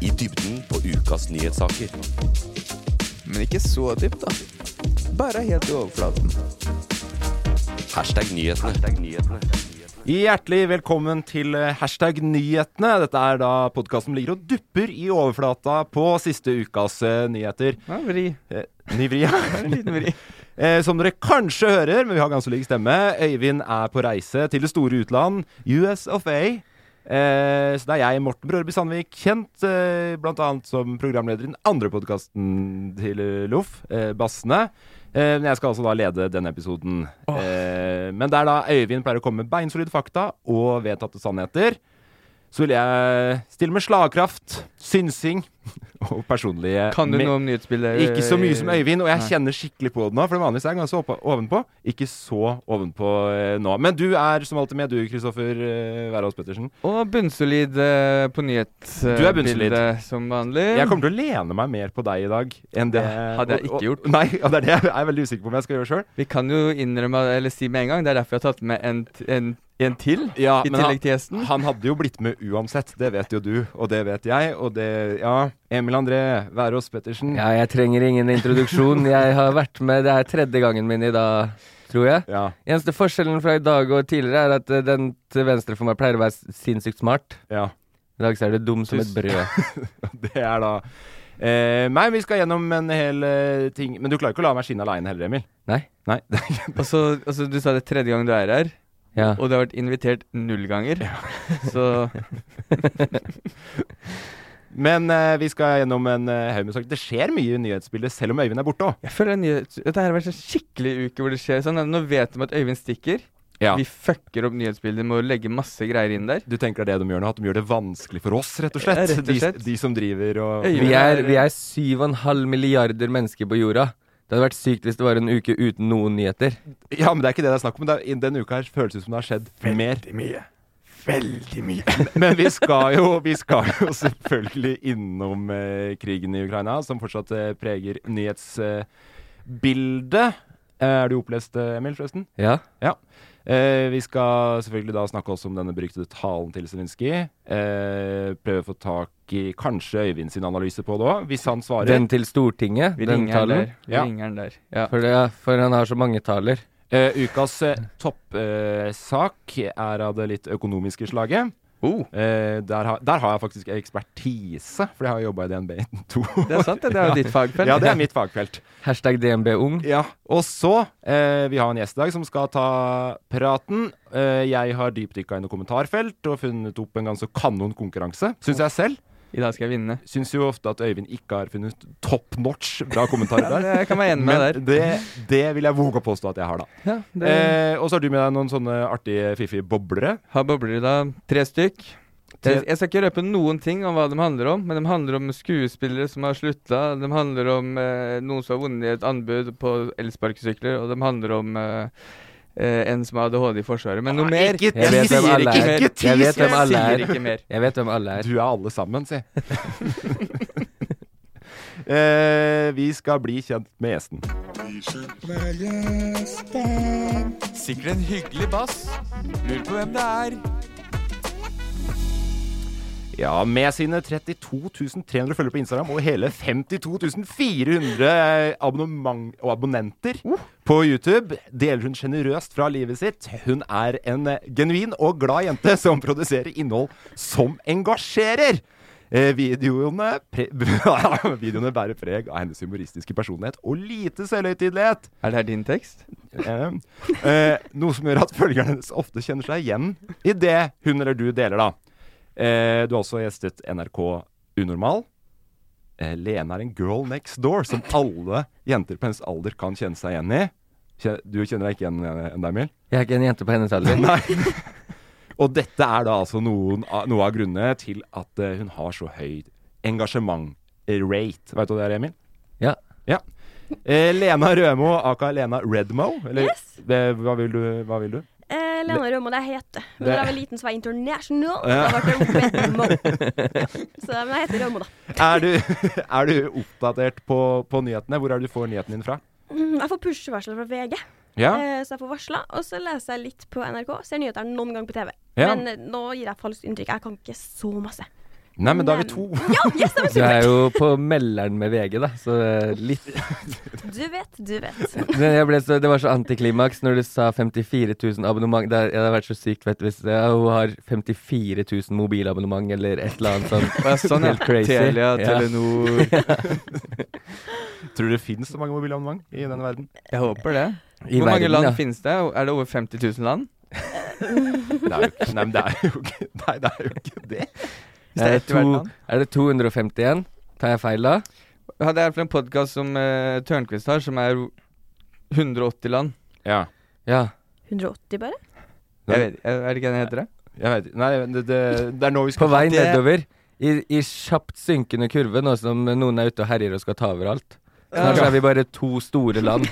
I dybden på ukas nyhetssaker. Men ikke så dypt, da. Bare helt i overflaten. Hashtag nyhetene. Hjertelig velkommen til eh, hashtag nyhetene. Dette er da podkasten ligger og dupper i overflata på siste ukas eh, nyheter. Ja, vri. Eh, Ny vri, ja. En liten vri. Eh, Som dere kanskje hører, men vi har ganske lik stemme, Øyvind er på reise til det store utland, US of A. Eh, så det er jeg, Morten Brørby Sandvik, kjent eh, bl.a. som programleder i den andre podkasten til eh, Loff, eh, Bassene. Eh, men jeg skal altså da lede den episoden. Eh, men der da Øyvind pleier å komme med beinsolide fakta og vedtatte sannheter, så vil jeg stille med slagkraft, synsing og personlige Kan du me- noe om nyhetsbildet? ikke så mye som Øyvind, og jeg Eh, Nei. kjenner skikkelig på det nå. For vanligvis er jeg ganske oppa- ovenpå. Ikke så ovenpå eh, nå. Men du er som alltid med, du, Kristoffer eh, Wærås Pettersen. Og bunnsolid eh, på nyhetsbildet. Du er bunnsolid. Som vanlig. Jeg kommer til å lene meg mer på deg i dag enn det Det Eh, hadde jeg og- og- ikke gjort. Nei, og det er det jeg er veldig usikker på om jeg skal gjøre sjøl. Vi kan jo innrømme, eller si med en gang, det er derfor jeg har tatt med en, t- en, en til. Ja, I men tillegg til gjesten. Han hadde jo blitt med uansett. Det vet jo du, og det vet jeg, og det Ja. Emil André Wærås Pettersen. Ja, jeg trenger ingen introduksjon. Jeg har vært med, det er tredje gangen min i dag, tror jeg. Ja, Eneste forskjellen fra i dag og tidligere er at eh, den til venstre for meg pleier å være s- sinnssykt smart. ja. I dag så er du dum som et brød. Det er da eh, Nei, vi skal gjennom en hel eh, ting. Men du klarer ikke å la meg skinne aleine heller, Emil? Nei. Nei. Og så, og så du sa det er tredje gang du er her, Ja. og du har vært invitert null ganger. Så Men eh, vi skal gjennom en eh, haug med saker. Det skjer mye i nyhetsbildet, selv om Øyvind er borte òg. jeg føler det er nyhets- dette her har vært en sånn skikkelig uke hvor det skjer sånn. Nå vet de at Øyvind stikker. Ja. Vi fucker opp nyhetsbildet med å legge masse greier inn der. Du tenker det er det de gjør nå, at de gjør det vanskelig for oss, rett og slett? Ja, rett og slett. De, de som driver og Øyvind Vi er, vi er 7,5 milliarder mennesker på jorda. Det hadde vært sykt hvis det var en uke uten noen nyheter. Ja, men det er ikke det det er snakk om. Det er, i denne uka her føles det ut som det har skjedd mer. Veldig mye. Veldig mye. Men vi skal jo, vi skal jo selvfølgelig innom eh, krigen i Ukraina, som fortsatt eh, preger nyhetsbildet. Eh, er du opplest, eh, Emil, forresten? Ja. Ja. Eh, vi skal selvfølgelig da snakke også om denne beryktede talen til Zelenskyj. Eh, prøve å få tak i kanskje Øyvind sin analyse på det òg, hvis han svarer. Den til Stortinget, Vi den ringer han talen. der. Vi Ja. ringer han der. Ja. For, det, for han har så mange taler. Eh, ukas eh, toppsak er av det litt økonomiske slaget. Oh, Eh, der, har- der har jeg faktisk ekspertise, for jeg har jobba i DNB i to det er sant, det. Det er jo ditt fagfelt. Ja, det er mitt fagfelt. Hashtag DNB ung. Ja, Og så eh, Vi har en gjest i dag som skal ta praten. Eh, jeg har dypdykka i noe kommentarfelt og funnet opp en ganske kanon konkurranse, syns jeg selv. I dag skal jeg vinne. syns jo ofte at Øyvind ikke har funnet top notch bra kommentarer der. Jeg kan være enig med deg Men det, det vil jeg våge å påstå at jeg har, da. der. Ja, det Eh, og så har du med deg noen sånne artige, fiffige boblere. Har bobler i dag. Tre stykk. Tre- Jeg, jeg skal ikke røpe noen ting om hva de handler om, men de handler om skuespillere som har slutta, de handler om eh, noen som har vunnet i et anbud på elsparkesykler, og de handler om eh, eh, en som har ADHD i Forsvaret. Men noe mer. Ikke, Jeg jeg vet hvem sier alle ikke, er. ikke Jeg vet tis! hvem alle Jeg er. sier ikke mer. Jeg vet hvem alle er. Du er alle sammen, si. eh, vi skal bli kjent med gjesten. Sikkert en hyggelig bass. Lurer på hvem det er. Ja, med sine 32.300 følgere på Instagram og hele 52.400 abonnement og abonnenter på YouTube, deler hun sjenerøst fra livet sitt. Hun er en eh, genuin og glad jente som produserer innhold som engasjerer. Eh, videoene, pre videoene bærer preg av hennes humoristiske personlighet og lite selvhøytidelighet. Er det her din tekst? Eh, eh, noe som gjør at følgerne hennes ofte kjenner seg igjen i det hun eller du deler, da. Eh, du har også gjestet NRK Unormal. Eh, Lene er en girl next door som alle jenter på hennes alder kan kjenne seg igjen i. Kje- Du kjenner deg ikke igjen eh, enda, Emil? Jeg er ikke en jente på hennes alder. Nei. Og dette er da altså noen, av- noe av grunnene til at eh, hun har så høy engasjement-rate. Veit du hva det er, Emil? Ja. Ja. Eh, Lena Rømo, aka Lena Redmo. Eller Yes. det, hva, vil du, hva vil du? Eh, Lena Rømo, det jeg heter. Men Det- da jeg var liten, så var jeg international. Ja. Da ble jeg opprettet Mo. Så men jeg heter Rømo, da. Er du, er du oppdatert på, på nyhetene? Hvor er det du får nyhetene dine fra? Mm, Jeg får push-varsler fra VG, Ja. eh, så jeg får varsla. Og så leser jeg litt på NRK, ser nyheter noen gang på TV. Ja. Men eh, nå gir jeg falskt inntrykk. Jeg kan ikke så masse. Nei, men da er vi to. Ja, yes, det Du er var supert! jo på melderen med VG, da, så litt Du vet, du vet. Men jeg ble så, Det var så antiklimaks når du sa 54 000 abonnement. Det, er- det hadde vært så sykt fett hvis det, ja, hun har 54 000 mobilabonnement eller et eller annet sånt. Å, ja, sånn, ja. Helt crazy. Telia, Ja. Telenor Tror du det finnes så mange mobilabonnement i denne verden? Jeg håper det. I Hvor mange verden, land ja. finnes det? Er det over 50 000 land? Det er jo ikke, nei, men det er jo ikke, nei, det, er jo ikke det. Hvis det er Eh, ett i hvert to- land. Er det 251? Tar jeg feil da? Ja, det er iallfall en podkast som uh, Tørnquist har, som er 180 land. Ja. Ja. 180 bare? Jeg vet, er er det ikke det den heter? det? Jeg vet, nei, det, det, det er nå vi På skal vei Det- nedover. I, I kjapt synkende kurve, nå som noen er ute og herjer og skal ta over alt. Snart så er vi bare to store land.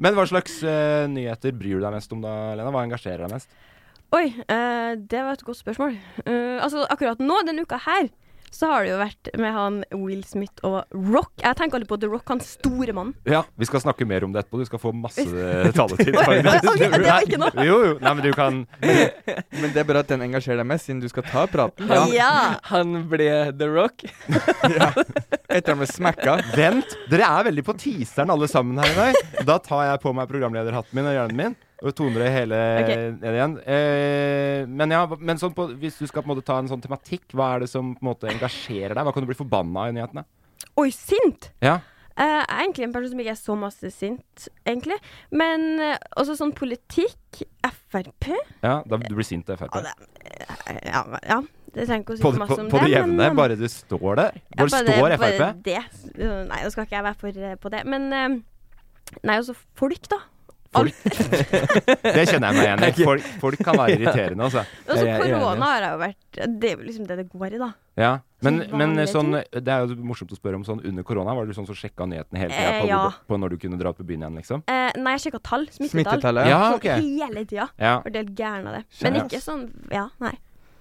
Men hva slags eh, nyheter bryr du deg mest om da, Lena? Hva engasjerer deg mest? Oi, eh, det var et godt spørsmål. Eh, altså, akkurat nå, denne uka her, så har det jo vært med han Will Smith og Rock. Jeg tenker aldri på The Rock, han store mannen. Ja, Vi skal snakke mer om det etterpå. Du skal få masse taletid. Oi, ok, det var ikke noe. Jo, jo. Nei, men du kan Men det er bra at den engasjerer deg mest, siden du skal ta praten. Ja. Han ble The Rock. Etter han ble smakka. Vent, dere er veldig på teaseren alle sammen her i dag. Da tar jeg på meg programlederhatten min og hjernen min. Og toner det hele Ok. ned igjen. Eh, men ja, men sånn på, hvis du skal på en måte ta en sånn tematikk, hva er det som på en måte engasjerer deg? Hva kan du bli forbanna av i nyhetene? Oi, sint! Ja. Eh, Jeg er egentlig en person som ikke er så masse sint, egentlig. Men eh, også sånn politikk, Frp ja da, du blir sint av Frp. Ja, det- eh, Ja, ja det trenger ikke å På, si for det- på, masse om på det jevne, men, eh, bare du står der. ja, Bare står Frp. Bare det. Eh, Nei, nå skal ikke jeg være for eh, på det. Men eh, Nei, også folk, da. Alt. Det kjenner jeg meg igjen i. Folk, folk kan være irriterende, altså. Også jeg er enig. korona har jeg jo vært Det er jo liksom det det går i, da. Ja. Men, Sånn men vanlige sånn, det er jo morsomt å spørre om sånn under korona. Var du sånn som sjekka nyhetene hele tida Eh, på, ja. hvor- på når du kunne dra på byen igjen, liksom? Eh, nei, jeg sjekka tall. Smittetall. Smittetallet. Ja, Sånn Ah, ok. Hele tida. Ja. Var delt gæren av det. Men Skjønner. ikke sånn Ja, nei.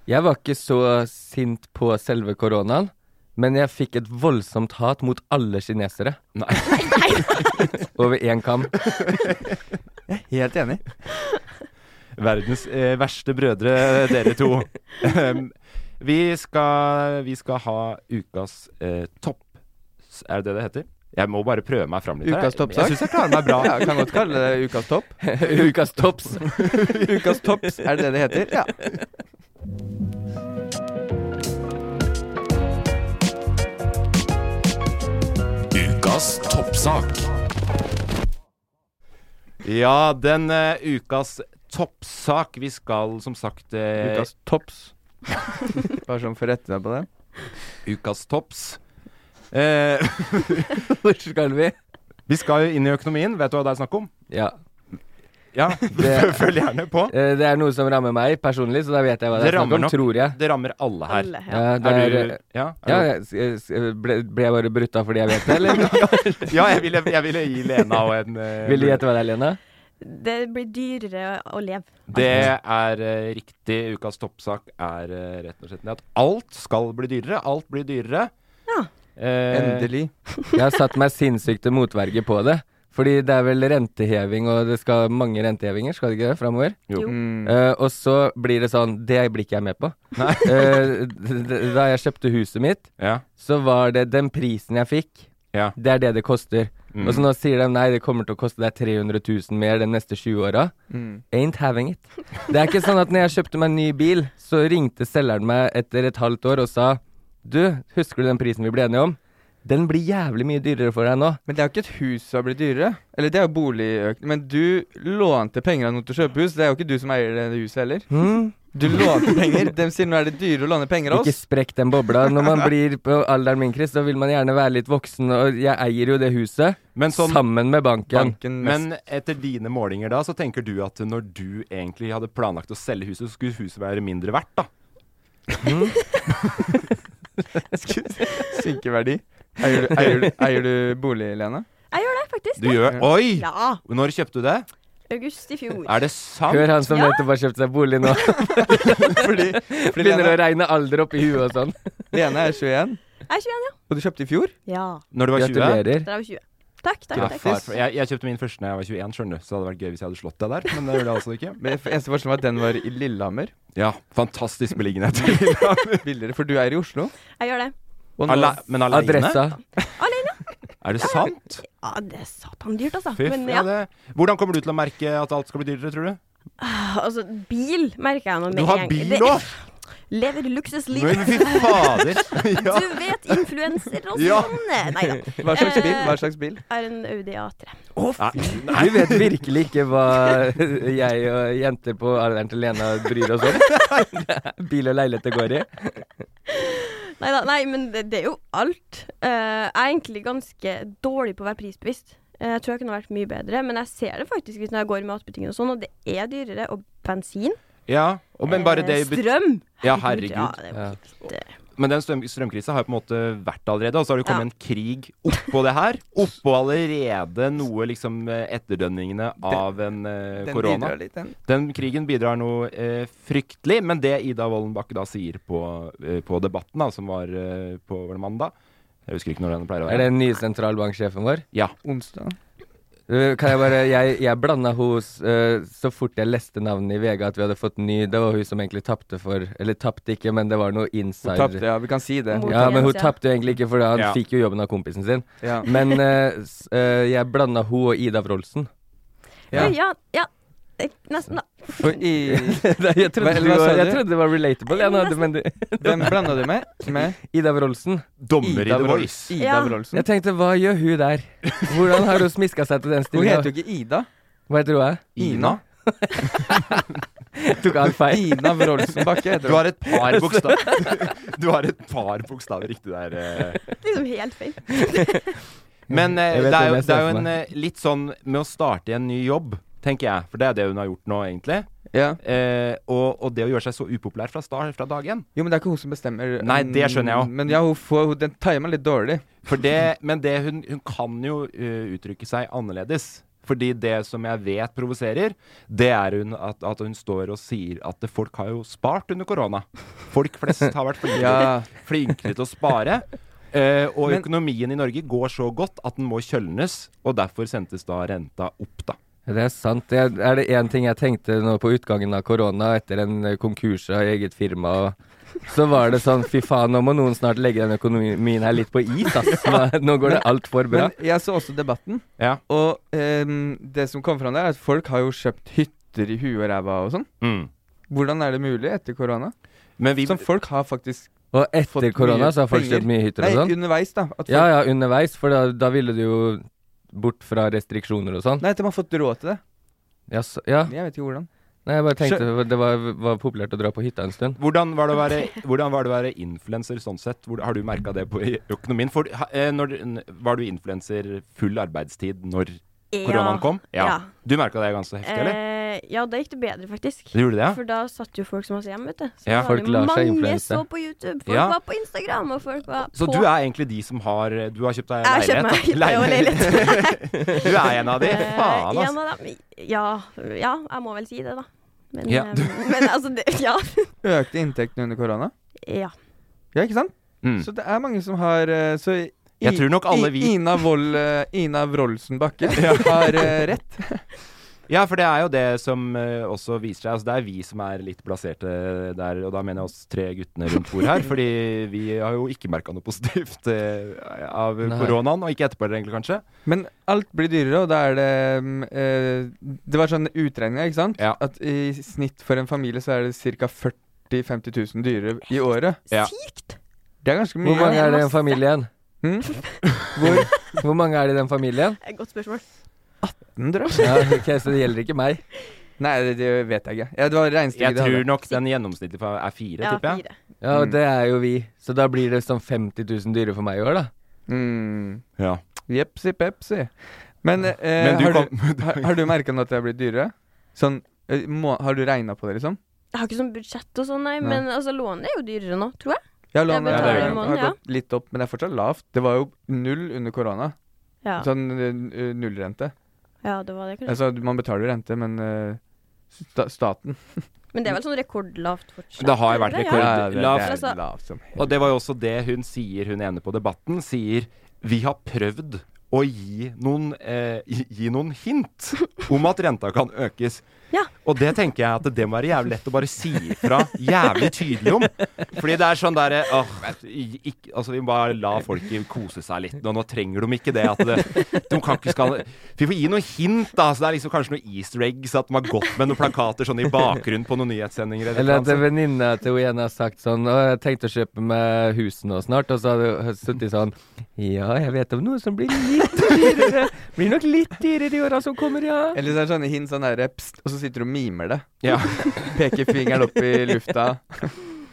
Jeg var ikke så sint på selve koronaen, men jeg fikk et voldsomt hat mot alle kinesere Nei. over én kam. Helt enig. Verdens eh, verste brødre, dere to. Em, vi, skal, vi skal ha ukas eh, topp... Er det det det heter? Jeg må bare prøve meg fram litt. her. Ukas toppsak. Jeg syns jeg klarer meg bra. Ja, kan godt kalle det Ukas topp. Ukas tops. Ukas topps, er det det det heter? Ja. Ukas toppsak. Ja, den eh, ukas toppsak Vi skal som sagt eh, Ukas topps. Bare sånn for å rette deg på det. ukas topps. Eh, Hvor skal vi? vi skal jo inn i økonomien. Vet du hva det er snakk om? Ja. Ja, Det- Følg gjerne på. Eh, Det er noe som rammer meg personlig, så da vet jeg hva det Det er snakk rammer om, nok. tror jeg. Det rammer alle her. Alle, ja. Ja, Eh, det Er er, du Ja, er ja, du- jeg- jeg- jeg- ble, ble jeg bare brutta fordi jeg vet det, eller? ja jeg, ville, jeg ville gi Lena og en eh, Vil du gjette hva det er, Lena? Det blir dyrere å leve. Det er eh, riktig. Ukas toppsak er eh, rett og slett det at alt skal bli dyrere. Alt blir dyrere. Ja. Eh, Endelig. Jeg har satt meg sinnssykt til motverge på det. Fordi det er vel renteheving, og det skal mange rentehevinger, skal det ikke det, framover? Jo. Mm. Eh, og så blir det sånn Det blir ikke jeg med på. Eh, d- d- da jeg kjøpte huset mitt, Ja. så var det den prisen jeg fikk, Ja. det er det det koster. Mm. Og så nå sier de nei, det kommer til å koste deg 300 000 mer de neste 20 åra. Mm. Ain't having it. Det er ikke sånn at når jeg kjøpte meg en ny bil, så ringte selgeren meg etter et halvt år og sa Du, husker du den prisen vi ble enige om? Den blir jævlig mye dyrere for deg nå. Men det er jo ikke et hus som har blitt dyrere. Eller det er jo boligøkning. Men du lånte penger av noen til å kjøpe hus. Det er jo ikke du som eier det huset heller. Mm. Hmm? Du lånte penger. De sier nå er det dyrere å låne penger av Ikke oss. sprekk den bobla. Når man blir på alderen min, Chris, så vil man gjerne være litt voksen, og jeg eier jo det huset Men sånn sammen med banken. Banken mest. Men etter dine målinger da, så tenker du at når du egentlig hadde planlagt å selge huset, så skulle huset være mindre verdt, da. Synkeverdi. Eier du, eier, du- eier du bolig, Lene? Jeg gjør det, faktisk. Du gjør Oi! Ja. Når kjøpte du det? August i fjor. Er det sant? Hør han som Ja. nettopp har kjøpt seg bolig nå. Fordi, fordi Begynner å Lene, regne alder opp i huet og sånn. Lene er 21, Jeg er 21, ja. og du kjøpte i fjor? Ja. Når du var 20? Gratulerer. Da er jeg 20. Takk, takk, Ja, takk. far, for jeg, jeg kjøpte min første da jeg var 21, skjønner du. Så det hadde vært gøy hvis jeg hadde slått deg der, men det gjorde jeg altså ikke. Men det eneste forskjellen var at den var i Lillehammer. Ja, fantastisk beliggenhet. Billigere, for du er i Oslo. Jeg gjør det. Og nå, Ale men aleine? Adressa. Er det sant? Ja, det er satan dyrt, altså. Fy Men f- ja, ja, det. Hvordan kommer du til å merke at alt skal bli dyrere, tror du? altså, bil merker jeg nå med Du har en gang. bil Det- òg! Lever luksusliv. Men fy fader. Ja. Du vet, influenser og Ja. sånne. Nei da. hva slags bil? Hva slags bil? Eh, Er en Audi A3. Nei, Du vet virkelig ikke hva jeg og jenter på alderen til Lena bryr oss om. Bil og leiligheter går i. Neida, nei, men det, det er jo alt. Eh, jeg er egentlig ganske dårlig på å være prisbevisst. Eh, jeg tror jeg kunne vært mye bedre, men jeg ser det faktisk hvis når jeg går i matbutikken og sånn, og det er dyrere. Og bensin. Ja, og, men bare eh, det i but- Strøm. Ja, Ja, herregud. det er Ja. jo helt, eh, Men den strøm strømkrisa har jo på en måte vært allerede, og så har det Ja. kommet en krig oppå det her. Oppå allerede noe liksom eh, etterdønningene av en eh, Den korona. bidrar litt, den. Den krigen bidrar noe eh, fryktelig, men det Ida Wollenbakke da sier på, eh, på Debatten, da, som var eh, på var det mandag Jeg husker ikke når den pleier å Er være. det den nye sentralbanksjefen vår? Ja. Onsdag. Uh, Kan jeg bare Jeg, jeg blanda hos uh, så fort jeg leste navnet i VG at vi hadde fått ny Det var hun som egentlig tapte for Eller tapte ikke, men det var noe Hun insider. tapte, ja. Vi kan si det. Mot- Ja, men hun Ja. tapte jo egentlig ikke, for han Ja. fikk jo jobben av kompisen sin. Ja. Men eh, s- eh, jeg blanda hun og Ida Wroldsen. ja. Ja. ja, Eh, Nesten, da. For i, jeg, trodde du var- jeg trodde det var relatable, jeg, nå, men hvem blanda du med? Med Ida Wroldsen. Dommer i Ida The Wrold- Voice. Ida Ja. Wroldsen. Jeg tenkte, hva gjør hun der? Hvordan har hun smiska seg til den Hun stillinga? heter jo ikke Ida. Hva heter hun? da? Ina. Tok han feil? Ina Wroldsen Bakke heter Du hun. har et par bokstaver Du har et par bokstaver riktig der. Eh. Liksom helt feil. Men eh, Jeg det, vet er hvem jo, jeg det er ser jo for en eh, litt sånn med å starte i en ny jobb, tenker jeg. For det er det hun har gjort nå, egentlig. Ja. Eh, og, og det å gjøre seg så upopulær fra, start, fra dag én. Jo, men det er ikke hun som bestemmer. um, Nei, det skjønner jeg også. Men ja, hun får, hun, den timer litt dårlig. For det, men det hun, hun kan jo eh, uttrykke seg annerledes. Fordi det som jeg vet provoserer, det er hun at, at hun står og sier at det- folk har jo spart under korona. Folk flest har vært flinkere, Ja. flinkere til å spare. eh, og Men- økonomien i Norge går så godt at den må kjølnes, og derfor sendtes da renta opp, da. Det er sant. Det er- er det én ting jeg tenkte nå på utgangen av korona, etter en eh, konkurs av eget firma, og så var det sånn fy faen, nå må noen snart legge den økonomien her litt på is, ass. Nå- Nå går det altfor bra. Men jeg så også Debatten, Ja. og ehm, det som kom fram der, er at folk har jo kjøpt hytter i huet og ræva og sånn. Hvordan er det mulig etter korona? Mm. Men vi, Som folk har faktisk Og Fått etter korona mye så har folk penger. kjøpt mye hytter Nei, og sånn. underveis, da. At folk, Ja ja, underveis, for da, da ville du jo bort fra restriksjoner og sånn. Nei, at de har fått råd til det. Ja, så, ja. Jeg vet ikke hvordan. Nei, jeg bare tenkte det var, var populært å dra på hytta en stund. Hvordan var det å være, hvordan var det å være influenser sånn sett? Hvor, har du merka det på i økonomien? For, ha- eh, når, n- var du influenser full arbeidstid når koronaen kom? Ja. Du merka det ganske heftig, eller? Eh, ja, da gikk det bedre, faktisk. Du gjorde det, ja? For da satt jo folk som oss hjemme, vet du. Så Ja, var folk det lar seg mange influense. så på YouTube, folk Ja. var på Instagram, og folk var Så på du er egentlig de som har eh, Du har kjøpt deg Jeg har kjøpt meg leilighet? da? hytte og leilighet. Eh, Du er en av de? Faen, ja, altså. men, da- ja, ja, jeg må vel si det, da. Men, Ja. eh, men altså det, Ja. Økte inntektene under korona? ja. Ja, ikke sant? Mm. Så det er mange som har eh, Så Jeg tror nok alle vi- I, Ina, Wold, eh, Ina Wroldsen Bakke har eh, rett. Ja, for det er jo det som eh, også viser seg. Altså, det er vi som er litt plasserte der, og da mener jeg oss tre guttene rundt bordet her. fordi vi har jo ikke merka noe positivt eh, av Nei. koronaen, og ikke etterpå heller, egentlig, kanskje. Men alt blir dyrere, og da er det mm, eh, Det var sånne utregninger, ikke sant? Ja. At i snitt for en familie så er det ca. 40 000-50 000 dyrere i året. Ja. Sykt! Det er ganske mye. Hvor mange er det i den familien? Mm. Hvor, hvor mange er det i den familien? Eh, Godt spørsmål. Ja, ok, Så det gjelder ikke meg. Nei, det, det vet jeg ikke. Ja, det var regnestykket Jeg de hadde. tror nok den gjennomsnittlige fa- er fire, Ja, tipper jeg. fire. Ja, Mm. og det er jo vi. Så da blir det sånn 50 000 dyrere for meg i år, da. Mm. Ja. Jepsi pepsi. Men, eh, Men du har, kom- du, har, har du merka nå at det har blitt dyrere? Sånn, eh, må, har du regna på det, liksom? Jeg har ikke sånn budsjett og sånn, nei, men altså, lånet er jo dyrere nå, tror jeg. Ja, Jeg lånet betaler har- i måneden, har ja. gått litt opp, men det er fortsatt lavt. Det var jo null under korona. Ja, Sånn eh, nullrente. ja det var det, kanskje. Altså, man betaler jo rente, men eh, sta staten Men det er vel sånn rekordlavt fortsatt? Det har jo vært eller? rekord- Ja. det, det lavt. er Altså- lavt som helt. Og det var jo også det hun sier, hun ene på Debatten, sier vi har prøvd å gi noen, eh, gi- gi noen hint om at renta kan økes. Ja. Og det tenker jeg at det må være jævlig lett å bare si ifra jævlig tydelig om. Fordi det er sånn derre åh, ikk- altså Vi må bare la folk i- kose seg litt. Nå, nå trenger de ikke det. At det de kan ikke skal, vi får gi noen hint, da. Så det er liksom kanskje noen easter eggs at de har gått med noen plakater sånn i bakgrunnen på noen nyhetssendinger. et Eller at annet. en venninne til henne har sagt sånn Å, jeg tenkte å kjøpe meg hus nå snart. Og så hadde hun sittet sånn Ja, jeg vet om noe som blir litt dyrere. Blir nok litt dyrere i åra som kommer, ja. Eller så er det sånne hint sånn derre pst, og så sitter du og mimer det. Ja. Peker fingeren opp i lufta.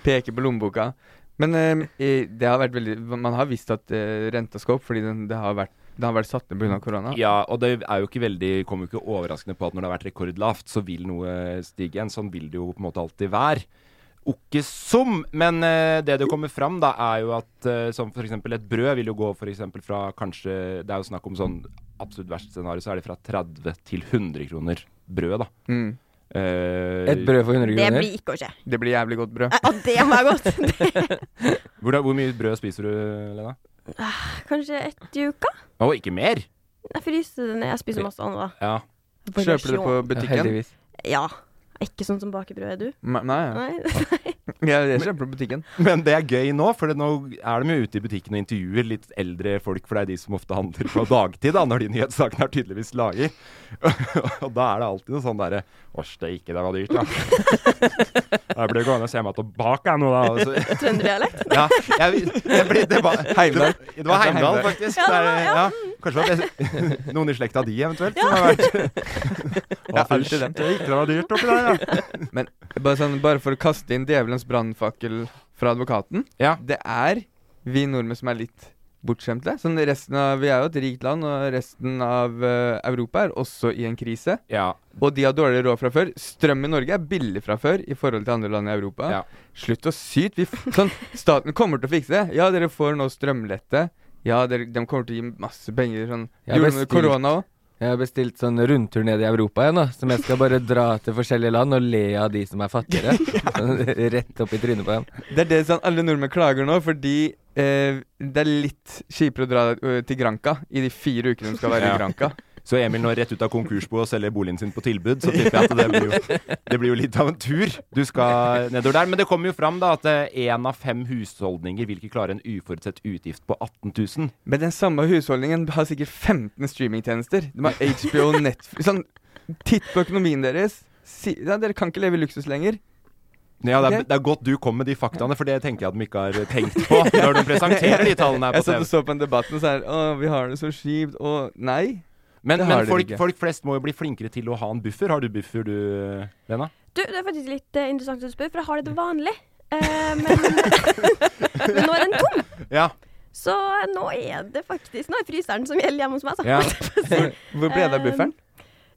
Peker på lommeboka. Men eh, i- det har vært veldig Man har visst at eh, renta skal opp, fordi den, det, har vært, det har vært satt ned pga. korona. Ja, og det er jo ikke veldig, kommer jo ikke overraskende på at når det har vært rekordlavt, så vil noe stige igjen. Sånn vil det jo på en måte alltid være. Ikke som, men eh, det det kommer fram da, er jo at eh, som f.eks. et brød vil jo gå for eksempel fra kanskje Det er jo snakk om sånn absolutt verst scenario, så er det fra 30 til 100 kroner brød, da. Mm. Eh, Et brød for 100 Det kroner. blir ikke å skje. Det blir jævlig godt brød. Eh, Og det må jeg godt! Det- Hvor, hvor mye brød spiser du, Lena? Kanskje ett i uka? Å, ikke mer? Jeg fryser det ned. Jeg spiser masse annet. da. Ja. Kjøper du det på Ja, butikken? heldigvis. Ja. Jeg er Ikke sånn som baker brød, er du? Ma- Nei, ja. Nei. jeg, jeg kjøper det på butikken. Men det er gøy nå, for det, nå er de jo ute i butikken og intervjuer litt eldre folk, for det er de som ofte handler på dagtid, da, når de nyhetssakene er tydeligvis lager. og da er det alltid noe sånn derre Å, steike, det var dyrt, da. jeg ble gående og se meg tilbake, jeg nå, da. og så- Trønderdialekt. ja, jeg, jeg ble, det var Heimdal. Det var Heimdal, faktisk. Ja, det var- Der, ja. Kanskje det var best- noen i slekta di, eventuelt. Som har vært. Ja, alltid den. Det gikk, det var dyrt oppi der, ja. Men bare, sånn, bare for å kaste inn djevelens brannfakkel fra advokaten. Ja. Det er vi nordmenn som er litt bortskjemte. Sånn resten av, vi er jo et rikt land, og resten av eh, Europa er også i en krise. ja. Og de har dårligere råd fra før. Strøm i Norge er billig fra før i forhold til andre land i Europa. Ja. Slutt å syte. Vi f- Sånn, staten kommer til å fikse det. Ja, dere får nå strømlette. Ja, dere, de kommer til å gi masse penger. Sånn. Ja, Gjorde de det bestilt. med korona òg? Jeg har bestilt sånn rundtur ned i Europa igjen, da. Som jeg skal bare dra til forskjellige land og le av de som er fattigere. Sånn, Rett opp i trynet på dem. Det er det sånn alle nordmenn klager nå, fordi eh, det er litt kjipere å dra ø, til Granca i de fire ukene de skal være Ja. i Granca. Så Emil nå rett ut av konkursbo og selger boligen sin på tilbud, så tipper jeg at det blir jo, det blir jo litt av en tur du skal nedover der. Men det kommer jo fram da at én av fem husholdninger vil ikke klare en uforutsett utgift på 18 000. Men den samme husholdningen har sikkert 15 streamingtjenester. De har HBO, Netflix sånn, Titt på økonomien deres. Si, ja, dere kan ikke leve i luksus lenger. Ja, det er, det er godt du kom med de faktaene, for det tenker jeg at de ikke har tenkt på når de presenterer de tallene her Jeg på satt TV. og så på en debatt, og så er det Å, vi har det så kjipt. Å, nei. Men, Det har men de folk, ikke. folk flest må jo bli flinkere til å ha en buffer. Har du buffer du, Lena? Du, det er faktisk litt eh, interessant at du spør, for jeg har det til vanlig. Eh, men, men nå er den tom, Ja. så nå er det faktisk Nå er fryseren som gjelder hjemme hos meg. altså. Så. Ja. Hvor ble det av bufferen?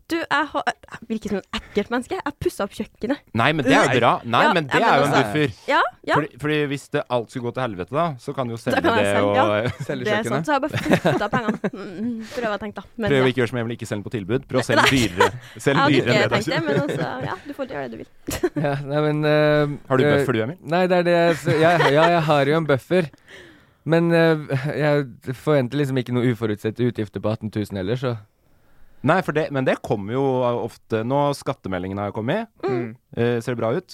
Du, jeg, har, jeg virker som et ekkelt menneske. Jeg pussa opp kjøkkenet. Nei, men det er jo bra. Nei, Ja, men det ja, er jo men en buffer. Ja, ja. Fordi, fordi hvis det alt skulle gå til helvete, da, så kan du jo selge kan jeg det selge, ja. og Det er sant, Selgekjøkkenet? så jeg har bare flytta pengene. Mm, Prøv å tenke, da. Men, Prøv å ja. ikke gjøre som Emil, ikke selg den på tilbud. Prøv å selge dyrere. Selg Jeg dyrere hadde enn ikke det. tenkt det, men altså, ja, du får gjøre det du vil. Ja, nei, men eh, Har du eh, bøffer du, Emil? Nei, det er det jeg s- jeg- Ja, jeg har jo en bøffer. Men eh, jeg forventer liksom ikke noe uforutsette utgifter på 18 000 heller, så Nei, for det, men det kommer jo ofte nå. Skattemeldingen har kommet. Mm. Eh, ser det bra ut?